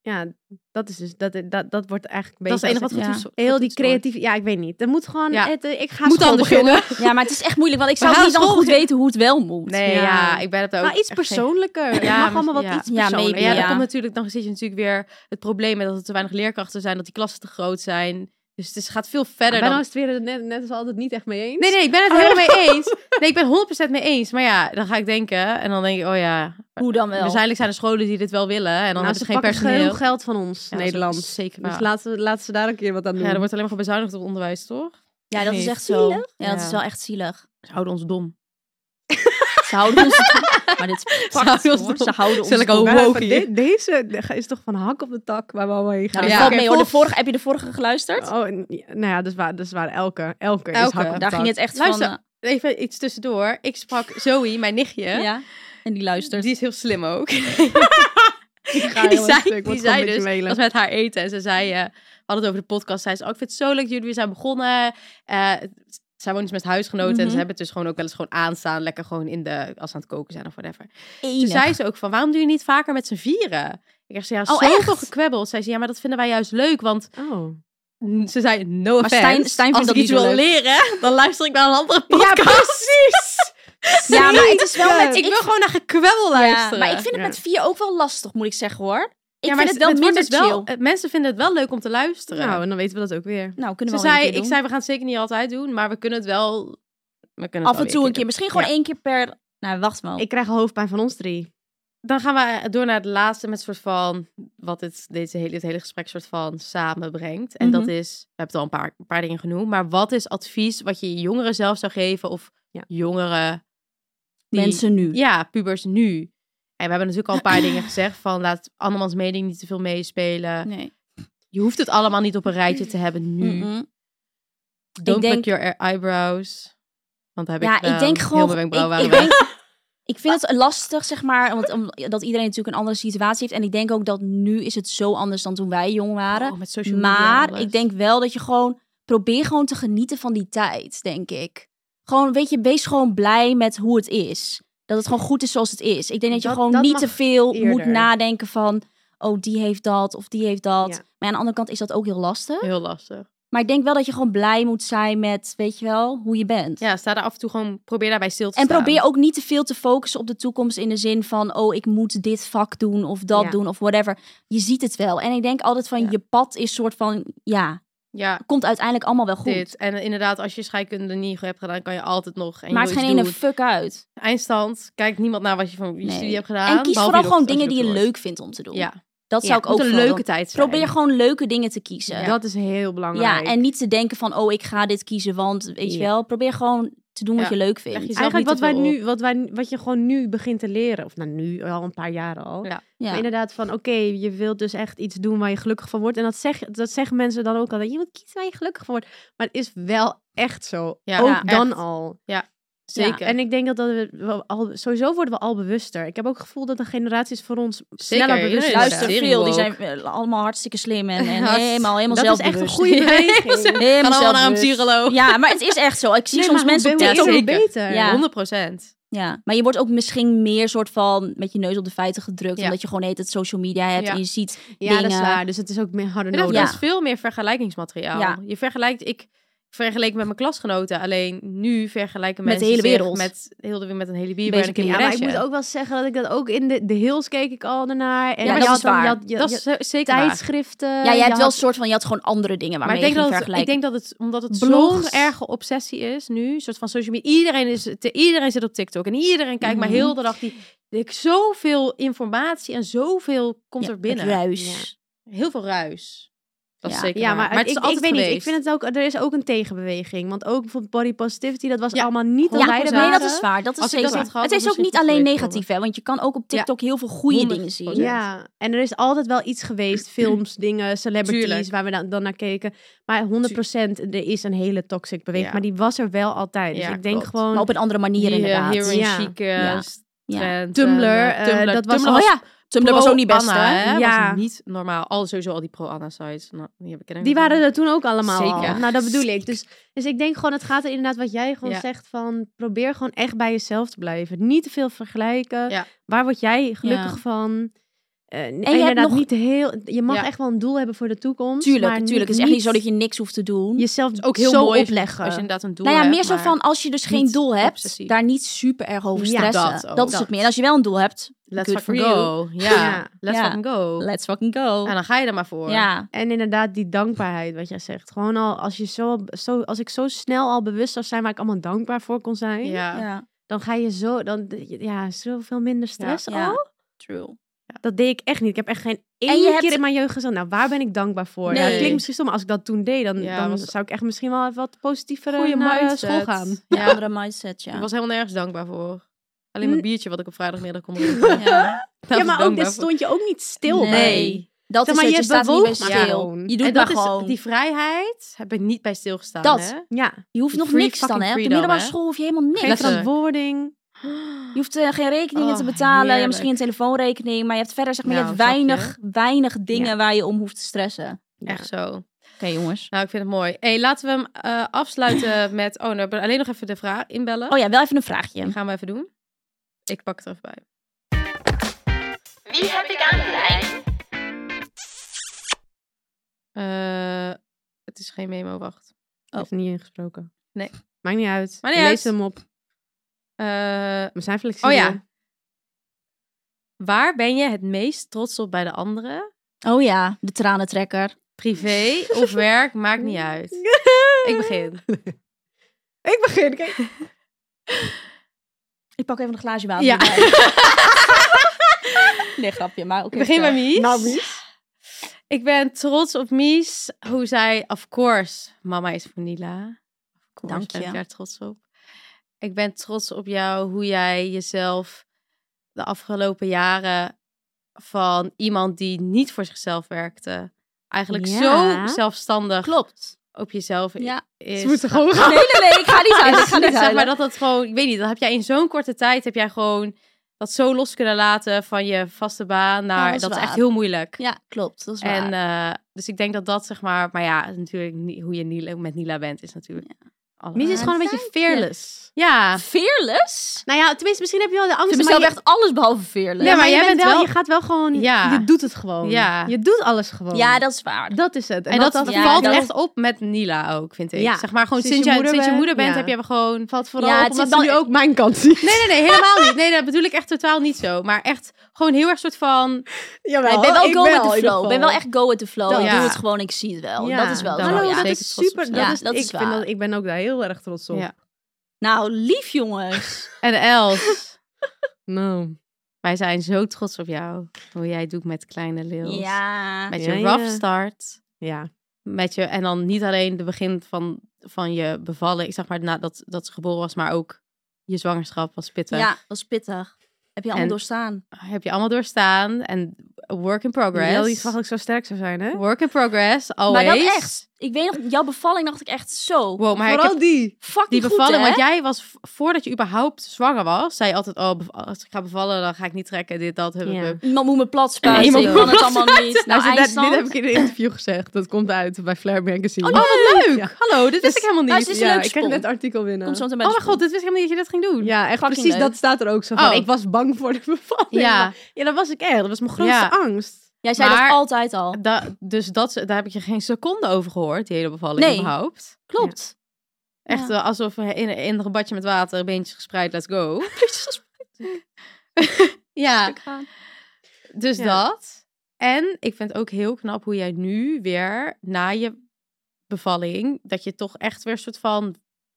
E: ja, dat is dus, dat, dat, dat wordt eigenlijk een
D: dat is het
E: beetje...
D: enige wat
C: ja.
D: goed is.
E: Heel die creatieve... Ja, ik weet niet. Er moet gewoon...
D: Ja.
E: Het, eh, ik ga
D: Moet
E: school
D: anders, jongen.
C: Ja, maar het is echt moeilijk, want ik
E: We
C: zou
E: gaan
C: niet dan
E: school
C: goed
E: geen-
C: weten hoe het wel moet.
D: Nee, ja.
E: Ja.
D: ik ben het ook...
E: Maar iets
D: echt geen-
E: persoonlijker. Het
D: Ja,
E: mag allemaal wat
D: ja.
E: iets
C: Ja, maybe,
E: persoonlijker.
D: Ja, dan
C: Ja.
D: komt natuurlijk, dan zit je natuurlijk weer het probleem met dat er te weinig leerkrachten zijn, dat die klassen te groot zijn. Dus het is, gaat veel verder
E: Benno
D: dan...
E: is het weer net, net als altijd niet echt mee eens.
D: Nee, nee, ik ben
C: Oh.
D: het helemaal mee eens. Nee, ik ben 100% mee eens. Maar ja, dan ga ik denken en dan denk ik, oh ja,
C: Hoe dan wel?
D: waarschijnlijk zijn er scholen die dit wel willen en dan
E: Nou,
D: hebben
E: ze
D: ze geen
E: pakken
D: personeel.
E: genoeg geld van ons,
D: Ja, dat is
E: Nederland.
D: ook Zeker
E: Dus
D: waar.
E: laten ze, laten ze daar een keer wat aan doen.
D: Ja, er wordt alleen maar bezuinigd op onderwijs, toch?
C: Ja, dat is
D: niet.
C: echt zo. Ja, dat
D: Ja.
C: is wel echt zielig.
D: Ze houden ons dom.
C: Ze houden ons... Maar dit is prachtig,
D: houden ons
C: hoor.
D: dom.
C: Ze houden ons...
D: Zal ik al
E: Maar
D: woke
E: Nou, even,
D: hier?
E: de- deze is toch van hak op de tak waar we allemaal heen
C: Nou,
E: gaan.
C: dat
D: Ja.
C: valt
D: Oké,
C: mee hoor. De
D: volg-
C: vorige, heb je de vorige geluisterd?
E: Oh, en- ja, nou ja, dat is waar. Dat is waar. Elke, elke, is
D: Elke.
E: hak op de
C: Daar
E: tak.
C: ging het echt
D: Luister.
C: van...
D: Even iets tussendoor. Ik sprak Zoe, mijn nichtje. Dus
C: eh, ja. En die luistert.
D: Die is heel slim ook.
E: Ik ga
D: En die
E: heel erg
D: zei, die
E: stuk, word gewoon
D: zei
E: een beetje
D: dus,
E: melen.
D: was met haar eten. En ze zei, eh, we hadden het over de podcast. Zei ze, oh, ik vind het zo leuk dat jullie weer zijn begonnen. Eh, het- zij woont dus met huisgenoten. En
C: Mhm.
D: ze hebben het dus gewoon ook wel eens gewoon aanstaan. Lekker gewoon in de, als ze aan het koken zijn of whatever. Toen
C: Enig.
D: zei ze ook van, waarom doe je niet vaker met z'n vieren? Ik dacht, ze, ja,
C: Oh,
D: zoveel
C: echt?
D: gekwebbeld. Zei ze, ja, maar dat vinden wij juist leuk. Want
E: Oh.
D: mm, ze zei, no offense.
C: Stijn- Stijn
D: als
C: vindt
D: ik
C: dat
D: iets
C: niet zo
D: wil leren, dan luister ik naar een andere podcast. Ja, precies.
C: Ja, maar het is wel met...
D: Ik wil gewoon naar gekwebbel
C: Ja,
D: luisteren.
C: maar ik vind het
E: Ja.
C: met vier ook wel lastig, moet ik zeggen hoor. Ik
D: Ja, maar
C: vind het wel
D: wordt
C: minder
D: dus wel-
C: chill.
D: eh, Mensen vinden het wel leuk om te luisteren.
E: Nou, en dan weten we dat ook weer.
C: Nou, kunnen
D: Ze
C: we wel
D: zei,
C: een keer
D: ik
C: doen.
D: zei, we gaan het zeker niet altijd doen, maar we kunnen het wel... We kunnen het
C: Af
D: wel
C: en toe
D: weer
C: een keer. Misschien gewoon
D: Ja.
C: één keer per... Nou, wacht wel.
E: Ik krijg hoofdpijn van ons drie.
D: doen. Dan gaan we door naar het laatste met soort van... Wat het, deze hele, het hele gesprek soort van samenbrengt. En dat
C: Mhm.
D: is, we hebben het al een paar, een paar dingen genoemd, maar wat is advies wat je jongeren zelf zou geven of
E: Ja.
D: jongeren... die-
C: Mensen nu.
D: Ja, pubers nu. En we hebben natuurlijk al een paar dingen gezegd van laat andermans mening niet te veel meespelen.
C: Nee.
D: Je hoeft het allemaal niet op een rijtje te hebben nu.
C: Mm-mm.
D: Don't
C: denk-
D: pluck your e- eyebrows. Want daar heb
C: Ja,
D: ik, gedaan.
C: ik denk
D: Heel
C: gewoon...
D: mijn
C: Ik,
D: wenkbrauwen
C: ik,
D: waren weg.
C: denk- ik vind het lastig, zeg maar, omdat, omdat iedereen natuurlijk een andere situatie heeft. En ik denk ook dat nu is het zo anders dan toen wij jong waren.
D: Oh, met social media en
C: maar
D: alles.
C: ik denk wel dat je gewoon... Probeer gewoon te genieten van die tijd, denk ik. Gewoon, weet je, wees gewoon blij met hoe het is. Dat het gewoon goed is zoals het is. Ik denk dat je
E: Dat-
C: gewoon
E: dat
C: niet
E: mag
C: te veel moet
E: eerder.
C: nadenken van... Oh, die heeft dat of die heeft dat.
E: Ja.
C: Maar aan de andere kant is dat ook heel lastig.
D: heel lastig.
C: Maar ik denk wel dat je gewoon blij moet zijn met, weet je wel, hoe je bent.
D: Ja, sta daar af en toe gewoon, probeer daarbij stil te
C: En
D: staan.
C: probeer ook niet te veel te focussen op de toekomst in de zin van, oh, ik moet dit vak doen of dat
E: Ja.
C: doen of whatever. Je ziet het wel. En ik denk altijd van,
D: Ja.
C: je pad is soort van, ja,
D: Ja,
C: komt uiteindelijk allemaal wel goed.
D: dit. En inderdaad, als je scheikunde niet hebt gedaan, kan je altijd nog. En je
C: Maakt
D: wil
C: geen
D: iets
C: ene
D: doen.
C: fuck uit.
D: Eindstand, kijkt niemand naar wat je van je
C: Nee.
D: studie hebt gedaan.
C: en kies
D: behalve
C: vooral
D: je
C: gewoon
D: dochter,
C: dingen
D: als
C: die je
D: dokter
C: leuk vindt om te doen.
D: wordt. Ja.
C: Dat
D: Ja,
C: zou ik
D: het
C: ook
D: moet een
C: vooral
D: leuke
C: doen.
D: tijd zijn.
C: Probeer gewoon leuke dingen te kiezen. Ja.
E: Dat is heel belangrijk.
C: en niet te denken van, oh, ik ga dit kiezen, want weet je
E: Ja.
C: wel. Probeer gewoon te doen wat
D: Ja.
C: je leuk
D: Leg
C: vindt.
D: jezelf
E: Eigenlijk wat
D: niet te
E: wij
D: veel
E: nu, wat wij, wat je gewoon nu begint te leren, of nou nu al een paar jaren al.
D: Ja.
C: Ja.
E: Maar inderdaad van, oké, je wilt dus echt iets doen waar je gelukkig van wordt. En dat, zeg, dat zeggen mensen dan ook altijd. Je moet kiezen waar je gelukkig van wordt. Maar het is wel echt zo.
D: Ja,
E: ook
D: ja,
E: dan
D: echt.
E: al.
D: Zeker.
E: Ja, en ik denk dat, dat we wel al, sowieso worden we al bewuster. Ik heb ook het gevoel dat de generaties voor ons sneller
D: iedereen
E: bewust
D: is
E: worden.
C: Luister
D: Serie
C: veel, die
D: ook.
C: zijn eh, allemaal hartstikke slim en, en
D: Hartst-
C: helemaal, helemaal
E: Dat is
C: zelfbewust.
E: echt een goede
D: Ja,
E: beweging.
C: Helemaal
D: Kan allemaal naar een
C: zelfbewust.
D: psycholoog.
C: Ja, maar het is echt zo. Ik zie
E: Nee,
C: soms
E: maar hoe
C: mensen op
E: be- hoe
C: TikTok.
E: is het
D: zeker.
E: beter.
C: Ja.
D: 100 procent.
C: Ja, maar je wordt ook misschien meer soort van met je neus op de feiten gedrukt.
D: Ja.
C: Omdat je gewoon heet het social media hebt
D: Ja.
C: en je ziet
E: Ja,
C: dingen.
E: dat is waar. Dus het is ook meer harder
D: Er
E: nodig.
C: Ja.
D: is veel meer vergelijkingsmateriaal.
C: Ja.
D: Je vergelijkt, ik vergeleek met mijn klasgenoten, alleen nu vergelijken
C: Met de
D: mensen
C: hele
D: zich
C: wereld.
D: met heel de wereld met een hele bier en een
C: Basically,
E: Ja, maar ik
D: kinderrestje.
E: moet ook wel zeggen dat ik dat ook in de, de Hills keek ik al daarnaar. En
C: Ja,
E: je
C: dat
E: had
C: is
E: dan-
C: waar.
E: Je had, je,
D: dat
E: je-
D: is ze- zeker waar.
E: tijdschriften.
C: Ja, jij
E: je
C: hebt wel een
E: had-
C: soort van, je had gewoon andere dingen
D: Eh, Maar
C: waarmee
D: ik denk,
C: je ging
D: dat het, ik
C: vergelijken.
D: denk dat het, omdat het
E: Blogs.
D: zo'n erge
E: dus
D: obsessie is nu, een soort van social media, iedereen, is, te, iedereen zit op TikTok en iedereen kijkt maar
C: Mhm.
D: heel de dag die Ik, zoveel informatie en zoveel komt er binnen.
C: Ruis.
D: Heel veel ruis. Dat is
C: Ja.
D: zeker
E: Ja,
D: waar.
E: maar,
D: het is
E: ik, ik
D: altijd
E: weet niet. Ik
D: geweest.
E: vind het ook, er is ook een tegenbeweging. Want ook bijvoorbeeld body positivity, dat was
D: Ja,
E: allemaal niet
C: Ja,
D: 100%.
C: nee, dat is waar. Dat is
D: Als ik dat
C: zeker.
D: had gehad,
C: het is
D: was
C: ook
D: het
C: niet
D: niet
C: alleen
D: geweest,
C: negatief, hè? Want je kan ook op
D: Ja.
C: TikTok heel veel goede
D: 100%.
C: dingen zien.
E: Ja, en er is altijd wel iets geweest. Films, dingen, celebrities
D: Tuurlijk.
E: waar we dan, dan naar keken. Maar 100% er is een hele toxic beweging.
D: Ja.
E: Maar die was er wel altijd. Dus
D: Ja,
E: ik denk
D: klopt.
E: gewoon...
C: Maar op een andere manier,
D: Die, eh,
C: inderdaad.
D: Heroin
E: Ja.
D: chic
C: Ja.
D: eh, s-
C: Ja.
D: trend,
E: Tumblr,
D: en, eh,
E: eh, dat was
D: Tumblr
C: Oh ja, Tumblr was
D: pro
C: ook niet best,
D: Anna,
C: hè?
E: Ja.
D: Was niet normaal. Al sowieso al die pro-Anna-sites. Nou, die heb ik er
E: Die waren er toen ook allemaal
D: Zeker.
E: al. Nou, dat bedoel ik. Dus, dus ik denk gewoon, het gaat er inderdaad wat jij gewoon
D: Ja.
E: zegt van... Probeer gewoon echt bij jezelf te blijven. Niet te veel vergelijken.
D: Ja.
E: Waar word jij gelukkig
C: Ja.
E: van? Eh, en
C: hebt
E: inderdaad
C: nog-
E: niet heel... Je mag
D: Ja.
E: echt wel een doel hebben voor de toekomst.
C: Tuurlijk,
E: maar
C: tuurlijk.
E: niet-
C: Het is echt niet zo
E: niet
C: dat je niks hoeft te doen.
E: jezelf
D: ook heel
E: zo
D: mooi
E: opleggen.
D: Als je inderdaad een doel
C: nou ja,
D: hebt,
C: meer zo
D: maar-
C: van als je dus geen
D: niet
C: doel hebt,
D: obsessief.
C: daar niet super erg over
E: Ja,
C: stressen.
D: dat
C: dat
D: ook.
C: is
D: Dat.
C: het meer. En als je wel een doel hebt,
D: Let's
C: Good for
D: fucking
C: you.
D: go. Ja,
E: Ja.
D: let's
C: Ja.
D: fucking go.
C: let's fucking go.
D: En dan ga je er maar voor.
C: Ja,
E: En inderdaad, die dankbaarheid, wat jij zegt. Gewoon al, als, je zo, zo, als ik zo snel al bewust zou zijn waar ik allemaal dankbaar voor kon zijn,
D: Ja.
C: ja.
E: dan ga je zo, dan, ja, zoveel minder stress
C: Ja.
E: al.
C: True.
E: Dat deed ik echt niet. Ik heb echt geen één
C: je
E: keer
C: hebt-
E: in mijn jeugd gezegd, nou, waar ben ik dankbaar voor? Ja,
C: Nee.
E: dat klinkt misschien stom, maar als ik dat toen deed, dan,
D: Ja,
E: dan
D: was-
E: zou ik echt misschien wel even wat positiever eh,
D: Goeie
E: naar eh,
D: mindset.
E: school gaan.
C: Ja.
D: Ja.
C: Andere mindset, ja.
D: Ik was helemaal nergens dankbaar voor. Alleen mijn biertje wat ik op vrijdagmiddag kon drinken. Daar
C: Ja.
D: was
E: Ja,
D: ik
E: maar ook,
D: dankbaar
E: daar
D: voor.
E: stond je ook niet stil
C: Nee.
E: bij.
C: Dat
E: Zeg
C: is
E: maar,
C: het, je,
E: je
C: staat niet bij
E: bewoog maar
C: stil.
E: gewoon.
C: Je doet
D: en
C: maar
D: dat is
C: gewoon.
D: die vrijheid heb ik niet bij stilgestaan.
C: Dat.
D: Hè?
E: Ja,
C: je hoeft nog
D: free
C: niks dan,
D: fucking
C: hè? Op de
D: freedom,
C: middelbare
D: hè?
C: school hoef je helemaal niks.
E: geen
D: Letterlijk.
E: verantwoording.
C: Je hoeft eh, geen rekeningen
D: Oh,
C: te betalen. Ja,
D: heerlijk.
C: misschien een telefoonrekening. Maar je hebt verder zeg maar, je
D: Nou,
C: hebt
D: snap je?
C: weinig, weinig dingen waar je om hoeft te stressen.
D: Echt zo.
C: Oké, jongens.
D: Nou, ik vind het mooi. hey, laten we hem eh, afsluiten met... Oh, we hebben we alleen nog even de vraag inbellen.
C: Oh ja, wel even een vraagje.
D: Die gaan we even doen. Ik pak het er even bij.
B: Wie heb ik aan de lijn?
D: Eh, het is geen memo, wacht.
E: Oh. Heeft er niet ingesproken.
D: Nee.
E: Maakt niet uit.
D: Maakt niet
E: Lees
D: uit.
E: hem op.
D: Eh,
E: We zijn flexibel.
D: oh ja. Waar ben je het meest trots op bij de anderen?
C: Oh ja, de tranentrekker.
D: Privé of werk, maakt niet uit. Ik begin.
E: Ik begin. Kijk.
C: Ik pak even een glaasje water.
D: Ja.
C: nee, grapje. Maar oké.
D: Ik begin bij
C: vertel.
D: Mies.
C: Nou, Mies.
D: Ik ben trots op Mies, hoe zij, of course, mama is vanilla. Of course
C: Dank
D: ben
C: je.
D: ik daar trots op. Ik ben trots op jou, hoe jij jezelf de afgelopen jaren van iemand die niet voor zichzelf werkte, eigenlijk
E: Ja.
D: zo zelfstandig
C: Klopt.
D: op jezelf i-
C: Ja.
D: is.
E: Ze moeten gewoon
C: Nee, nee, nee. Ik ga niet huilen. Ik ga niet
D: zeg maar
C: huilen.
D: dat dat gewoon, ik weet niet, dat heb jij in zo'n korte tijd, heb jij gewoon dat zo los kunnen laten van je vaste baan naar,
C: dat is
D: dat, is
C: waar.
D: echt heel moeilijk.
C: Ja, klopt. Dat is waar.
D: En eh, dus ik denk dat dat zeg maar, maar ja, natuurlijk niet, hoe je Nila, met Nila bent is natuurlijk. Ja.
E: Mies is
C: Ah,
E: gewoon een beetje fearless.
D: Ja,
C: Fearless?
E: Nou ja, tenminste, misschien heb je wel de
C: Ze
E: angst.
C: bestelt
E: je,
C: echt alles behalve fearless.
E: nee, maar, jij bent wel,
D: wel-
E: je gaat wel gewoon,
D: Ja.
E: je doet het gewoon.
D: Ja.
E: Je doet alles gewoon.
C: Ja, dat is waar.
E: Dat is het.
D: en, dat,
E: dat,
C: ja,
D: valt
C: dat-
D: echt op met Nila ook, vind ik.
E: Ja.
D: Zeg maar gewoon sinds,
E: Sinds je
D: jij-
E: moeder
D: sinds je
E: bent,
D: moeder bent,
E: ja.
D: heb je gewoon.
E: valt vooral
C: Ja,
E: op
C: het e-
E: omdat
C: zit
E: ze nu
C: dan-
E: ook mijn kant zien.
D: Nee, nee, nee, helemaal niet. Nee, dat bedoel ik echt totaal niet zo. Maar echt gewoon heel erg soort van. Nou,
E: Jawel,
C: Nee, ik ben wel
E: Oh, ik
C: go with
E: in
C: the
E: ieder
C: flow. Ik ben wel
E: geval.
C: echt go with the flow.
E: Dat-
C: ik doe
D: Ja.
C: het gewoon, ik zie het wel.
E: Ja,
C: dat is wel
D: dat
C: zo,
E: Hallo,
D: wel,
C: ja.
E: dat
D: Zeker
E: is
D: trots op
E: super.
D: zijn.
E: Dat
C: Ja,
E: is,
C: dat
E: ik,
C: is
E: vind
C: waar.
E: dat, ik ben ook daar heel erg trots op.
D: Ja.
C: Nou, lief jongens.
D: En Els,
E: Nou.
D: wij zijn zo trots op jou. Hoe jij het doet met kleine Lils.
C: ja.
D: Met
E: Ja,
D: je
E: ja.
D: rough start.
E: Ja.
D: met je en dan niet alleen de begin van, van je bevalling, zeg maar nadat dat ze geboren was, maar ook je zwangerschap was pittig.
C: Ja, dat is pittig. Heb je allemaal
D: En-
C: doorstaan.
D: Heb je allemaal doorstaan en work in
E: Heel
D: progress.
E: iets ik zo sterk zou zijn, hè?
D: Work in progress, always.
C: Maar dat echt. Ik weet nog, jouw bevalling dacht ik echt zo.
D: Wow, maar ik
E: Vooral
D: heb
E: die.
C: Fucking
D: die bevalling,
C: goed, hè?
D: want jij was v- voordat je überhaupt zwanger was, zei je altijd oh bev- als ik ga bevallen dan ga ik niet trekken dit dat hup,
E: Ja.
D: hup.
C: Iemand moet me plat
D: Nee,
C: spuiten.
D: iemand
C: Ik
D: moet
C: kan
D: me
C: het allemaal niet. Nou,
E: Nou, dit,
C: IJsland.
E: heb ik in een interview gezegd. Dat komt uit bij Flair Magazine.
D: Oh, wat leuk.
E: Ja.
D: Hallo, dit wist ik helemaal niet.
C: nou, ze is een
E: ja,
C: leuk
E: ik kreeg
C: spon.
E: net artikel binnen.
C: Komt zo meteen bij
D: Dus Oh
C: de
D: mijn
C: spoel.
D: god, dit wist ik helemaal niet dat je dit ging doen.
E: Ja, echt
C: Fucking
E: precies.
C: leuk.
E: Dat staat er ook zo van.
D: Oh.
E: Ik was bang voor de bevalling.
D: Ja.
E: maar- ja, dat was ik echt. Dat was mijn grootste
D: Ja.
E: angst.
C: Jij zei
D: Maar-
C: dat altijd al.
D: Da- dus dat, daar heb ik je geen seconde over gehoord, die hele bevalling
C: Nee.
D: überhaupt.
C: Klopt.
D: Echt
C: Ja.
D: eh, alsof we in, in een badje met water, beentjes gespreid, let's go. ja, dus
E: Ja.
D: dat. En ik vind het ook heel knap hoe jij nu weer na je bevalling, dat je toch echt weer een soort van,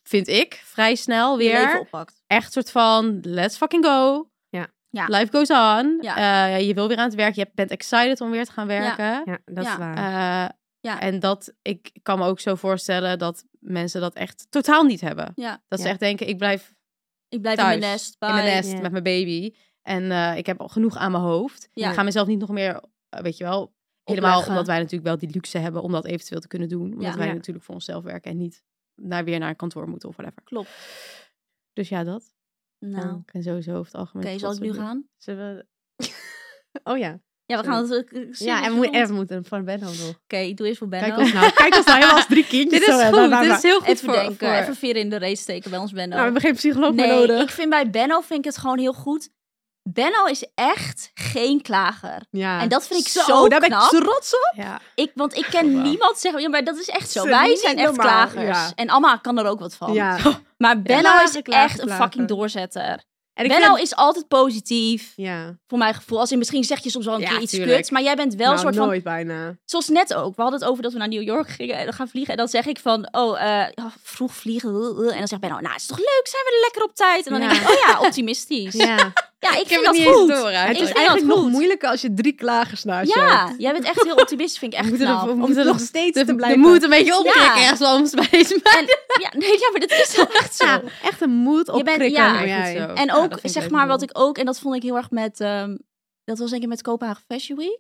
D: vind ik, vrij snel
C: Je leven
D: weer
C: oppakt.
D: echt soort van, let's fucking go.
E: Ja.
C: Ja.
D: Life goes on.
C: Ja.
D: Eh, je wil weer aan het werk. Je bent excited om weer te gaan werken.
E: Ja, dat
C: Ja.
E: is waar.
D: Eh,
C: Ja.
D: En dat, ik kan me ook zo voorstellen dat mensen dat echt totaal niet hebben.
C: Ja.
D: Dat ze
E: Ja.
D: echt denken, ik blijf
C: Ik blijf
D: Thuis,
C: in mijn nest.
D: in mijn
C: bye.
D: nest
E: Ja.
D: met mijn baby. En eh, ik heb al genoeg aan mijn hoofd.
C: Ja.
D: Ik ga mezelf niet nog meer, eh, weet je wel, helemaal
E: Opleggen.
D: omdat wij natuurlijk wel die luxe hebben om dat eventueel te kunnen doen. Omdat
C: Ja.
D: wij
E: Ja.
D: natuurlijk voor onszelf werken en niet naar weer naar een kantoor moeten of whatever.
C: Klopt.
D: Dus ja, dat.
C: Nou,
D: Ja,
C: oké,
D: ik ben sowieso over het algemeen.
C: zal ik
D: trots
C: nu
D: op je.
C: gaan?
E: Zullen we... oh ja.
C: Ja, we gaan het... eh,
E: Ja, en
C: serieus
E: we,
C: doen.
E: en we moeten van Benno nog.
C: Oké, ik doe eerst voor Benno.
E: Kijk ons nou, kijk ons nou helemaal als drie kindjes.
D: Dit is
E: zo, hè.
D: goed,
E: Ba, ba,
D: dit
E: ba.
D: is heel goed
C: even
D: voor,
C: denken,
D: voor-
C: even veren in de race steken bij ons Benno.
E: Nou, we hebben geen psycholoog meer
C: nee,
E: nodig.
C: ik vind bij Benno vind ik het gewoon heel goed. Benno is echt geen klager.
E: Ja.
C: En dat vind ik zo
E: daar
C: knap.
E: ben ik trots op. Ja.
C: Ik, want ik ken niemand zeggen, ja, maar dat is echt zo.
E: Ze-
C: Wij
E: niet
C: zijn echt
E: normaal,
C: klagers.
E: ja.
C: En Amma kan er ook wat van.
E: ja.
C: Maar Benno
E: Klagen,
C: is
E: klagen,
C: echt een
E: klagen.
C: fucking doorzetter.
E: En ik
C: Benno
E: vind-
C: is altijd positief,
E: Ja,
C: voor mijn gevoel. Als in, misschien zeg je soms wel een
E: Ja,
C: keer iets
E: tuurlijk. Nou,
C: kuts, maar jij bent wel
E: wel
C: een soort van...
E: nooit bijna.
C: Zoals net ook. We hadden het over dat we naar New York gingen en gaan vliegen. En dan zeg ik van, oh, eh, ja, vroeg vliegen. eh, eh. En dan zegt Benno, nou, is toch leuk? Zijn we er lekker op tijd? En dan
E: Ja.
C: denk ik, oh ja, optimistisch. Ja,
E: Ja.
C: ik,
I: heb
C: vind
I: het
C: dat
I: niet
C: goed.
I: eens door
E: Het
I: eigenlijk.
E: is
C: vind dat
E: eigenlijk nog
C: goed.
E: moeilijker als je drie klagers naast je hebt.
C: Ja, Nou, jij bent echt heel optimistisch, vind ik
E: We
C: echt
E: moeten, er,
C: knap.
E: we moeten
D: er
E: nog steeds te
D: De, de
E: blijven.
D: moed een beetje opkrikken
C: Ja.
D: ergens anders bij deze
C: En, ja, nee, ja, maar dat is wel echt zo.
E: Ja, echt een moed
C: bent-
E: opkrikken.
C: ja.
D: Ja,
E: hoe jij-
D: goed zo.
C: En
D: Ja,
C: ook,
D: dat vind ik
C: zeg
D: leuk
C: maar,
D: om
C: wat
D: te
C: ik ook... En dat vond ik heel erg met... ehm, dat was denk ik met Kopenhagen Fashion Week.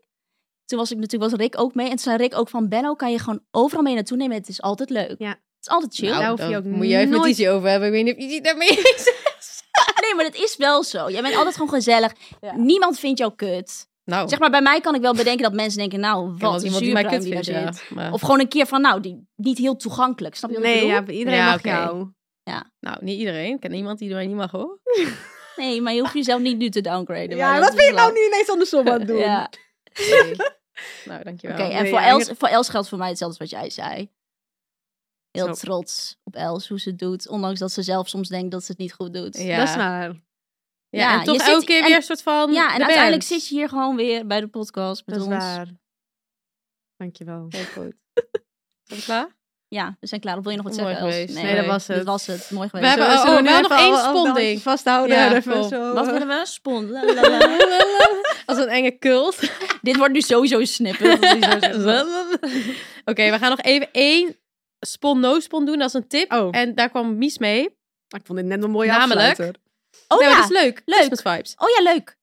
C: Toen was ik natuurlijk, was Rick ook mee. En toen zei Rick ook van, Benno kan je gewoon overal mee naartoe nemen. Het is altijd leuk.
E: Ja.
C: Het is altijd chill.
E: Nou,
I: Nou,
E: hoef je
I: daar
E: ook
I: moet je even
E: nooit-
I: met Izzy over hebben. Ik weet niet of Izzy daarmee
C: Nee, maar dat is wel zo. Jij bent altijd gewoon gezellig. Niemand vindt jou kut.
I: Nou,
C: Zeg maar, bij mij kan ik wel bedenken dat mensen denken... Nou,
I: ik ken wel
C: wat een
I: iemand die mij
C: zuurpruim
I: kut
C: die daar
I: vindt,
C: zit.
I: ja. Maar,
C: Of gewoon een keer van, nou, die, niet heel toegankelijk. Snap je wat ik
E: Nee,
C: bedoel?
E: ja, iedereen
I: Ja,
E: mag
I: oké.
E: jou.
D: Nou, niet iedereen. Ik ken iemand die mij niet mag hoor.
C: Nee, maar je hoeft jezelf niet nu te downgraden.
E: Ja,
C: maar
E: wat
C: is
E: ben je nou
C: wel-
E: nu ineens andersom aan het doen?
C: Ja,
D: Nou,
C: oké.
D: dankjewel.
C: en
E: nee,
C: voor,
E: ja,
C: Els,
E: hier-
C: voor Els geldt voor mij hetzelfde als wat jij zei. Heel
E: Zo.
C: trots op Els, hoe ze het doet. Ondanks dat ze zelf soms denkt dat ze het niet goed doet.
D: Ja.
E: Dat is waar.
D: Ja,
C: Ja,
D: en toch
C: je
D: elke
C: zit-
D: keer
C: en-
D: weer een soort van.
C: Ja, en
D: de
C: uiteindelijk
D: band.
C: zit je hier gewoon weer bij de podcast met
E: Dat is
C: ons.
E: waar. Dankjewel.
D: Heel goed. Zijn we klaar?
C: Ja, we zijn klaar. Of wil je nog wat
D: Mooi
C: zeggen, Els?
D: geweest. Nee, dat was
C: Dat
D: het.
C: was het. Mooi
D: We
C: geweest.
D: hebben
E: Zullen
D: oh,
E: zullen
D: we hebben
E: nu
D: nog
E: even
D: één
E: al- al- al-
D: sponding.
E: Vasthouden.
D: Ja,
E: en even
D: kom.
E: zo.
C: Wat willen we? Spond. la, la, la.
D: Als een enge cult.
C: Dit wordt nu sowieso een snippet. Dat is sowieso zo.
D: Oké, we gaan nog even één spon no spon doen. Dat is een tip.
E: Oh.
D: En daar kwam Mies mee.
E: Ik vond dit net een mooie
D: Namelijk-
E: afsluiter.
C: Oh
D: nee, maar
C: ja.
D: dat is leuk.
C: leuk.
D: Christmas vibes.
C: Oh ja, leuk.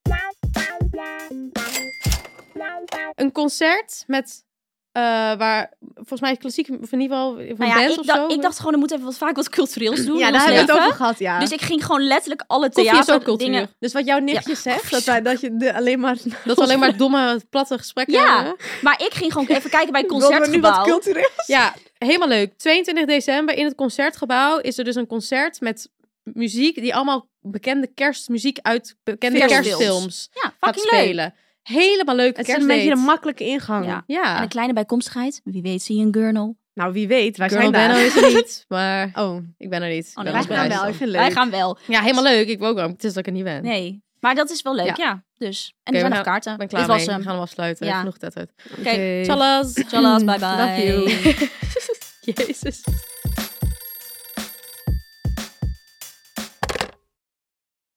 D: Een concert met eh, waar volgens mij klassiek of in ieder geval van
C: Nou ja,
D: band
C: ik,
D: of
C: dacht-
D: zo.
C: ik dacht gewoon, er moet even wat, vaak wat cultureels doen.
E: Ja,
C: in
E: daar
C: ons
E: hebben we het
C: leven.
E: over gehad, ja.
C: Dus ik ging gewoon letterlijk alle
D: koffie is ook cultuur.
C: theaterdingen...
D: Dus wat jouw nichtje zegt,
E: dat, wij, dat je de- alleen maar...
D: dat we alleen maar domme platte gesprekken
C: Ja,
D: hebben.
C: maar ik ging gewoon even kijken bij het
E: Wilden we nu wat
C: concertgebouw.
E: cultureel?
D: Ja, helemaal leuk. 22 december in het concertgebouw is er dus een concert met muziek die allemaal bekende kerstmuziek uit bekende
C: Films.
D: kerstfilms
C: Ja,
D: gaat
C: fucking leuk.
D: spelen. Oh. Helemaal leuk.
E: Het is een beetje een
D: kerstdate.
E: makkelijke ingang.
C: Ja. En
D: Ja.
C: een kleine bijkomstigheid. Wie weet zie je een gurnel. Oh,
E: Nou, wie weet. Wij
D: Girl
E: zijn
D: Benno
E: daar.
D: is er niet, maar
E: Oh,
D: ik ben er niet. Ik
C: Oh,
D: ben
C: nee,
E: wij
D: op
E: gaan
D: reis
E: wel.
D: dan.
E: Ik vind het
C: Wij
E: leuk.
C: gaan wel.
D: Ja, helemaal leuk. Ik wil ook wel. maar Het is dat ik er niet ben.
C: Nee. Maar dat is wel leuk, ja. Dus.
D: Oké,
C: En er zijn
D: we
C: nog
D: gaan-
C: kaarten.
D: Ik ben klaar
C: Dit was
D: mee.
C: hem.
D: We gaan hem afsluiten.
C: Ja.
D: Genoeg tijd uit.
C: Oké.
D: Tjallas.
C: Tjallas, bye bye.
D: Love you. Jezus.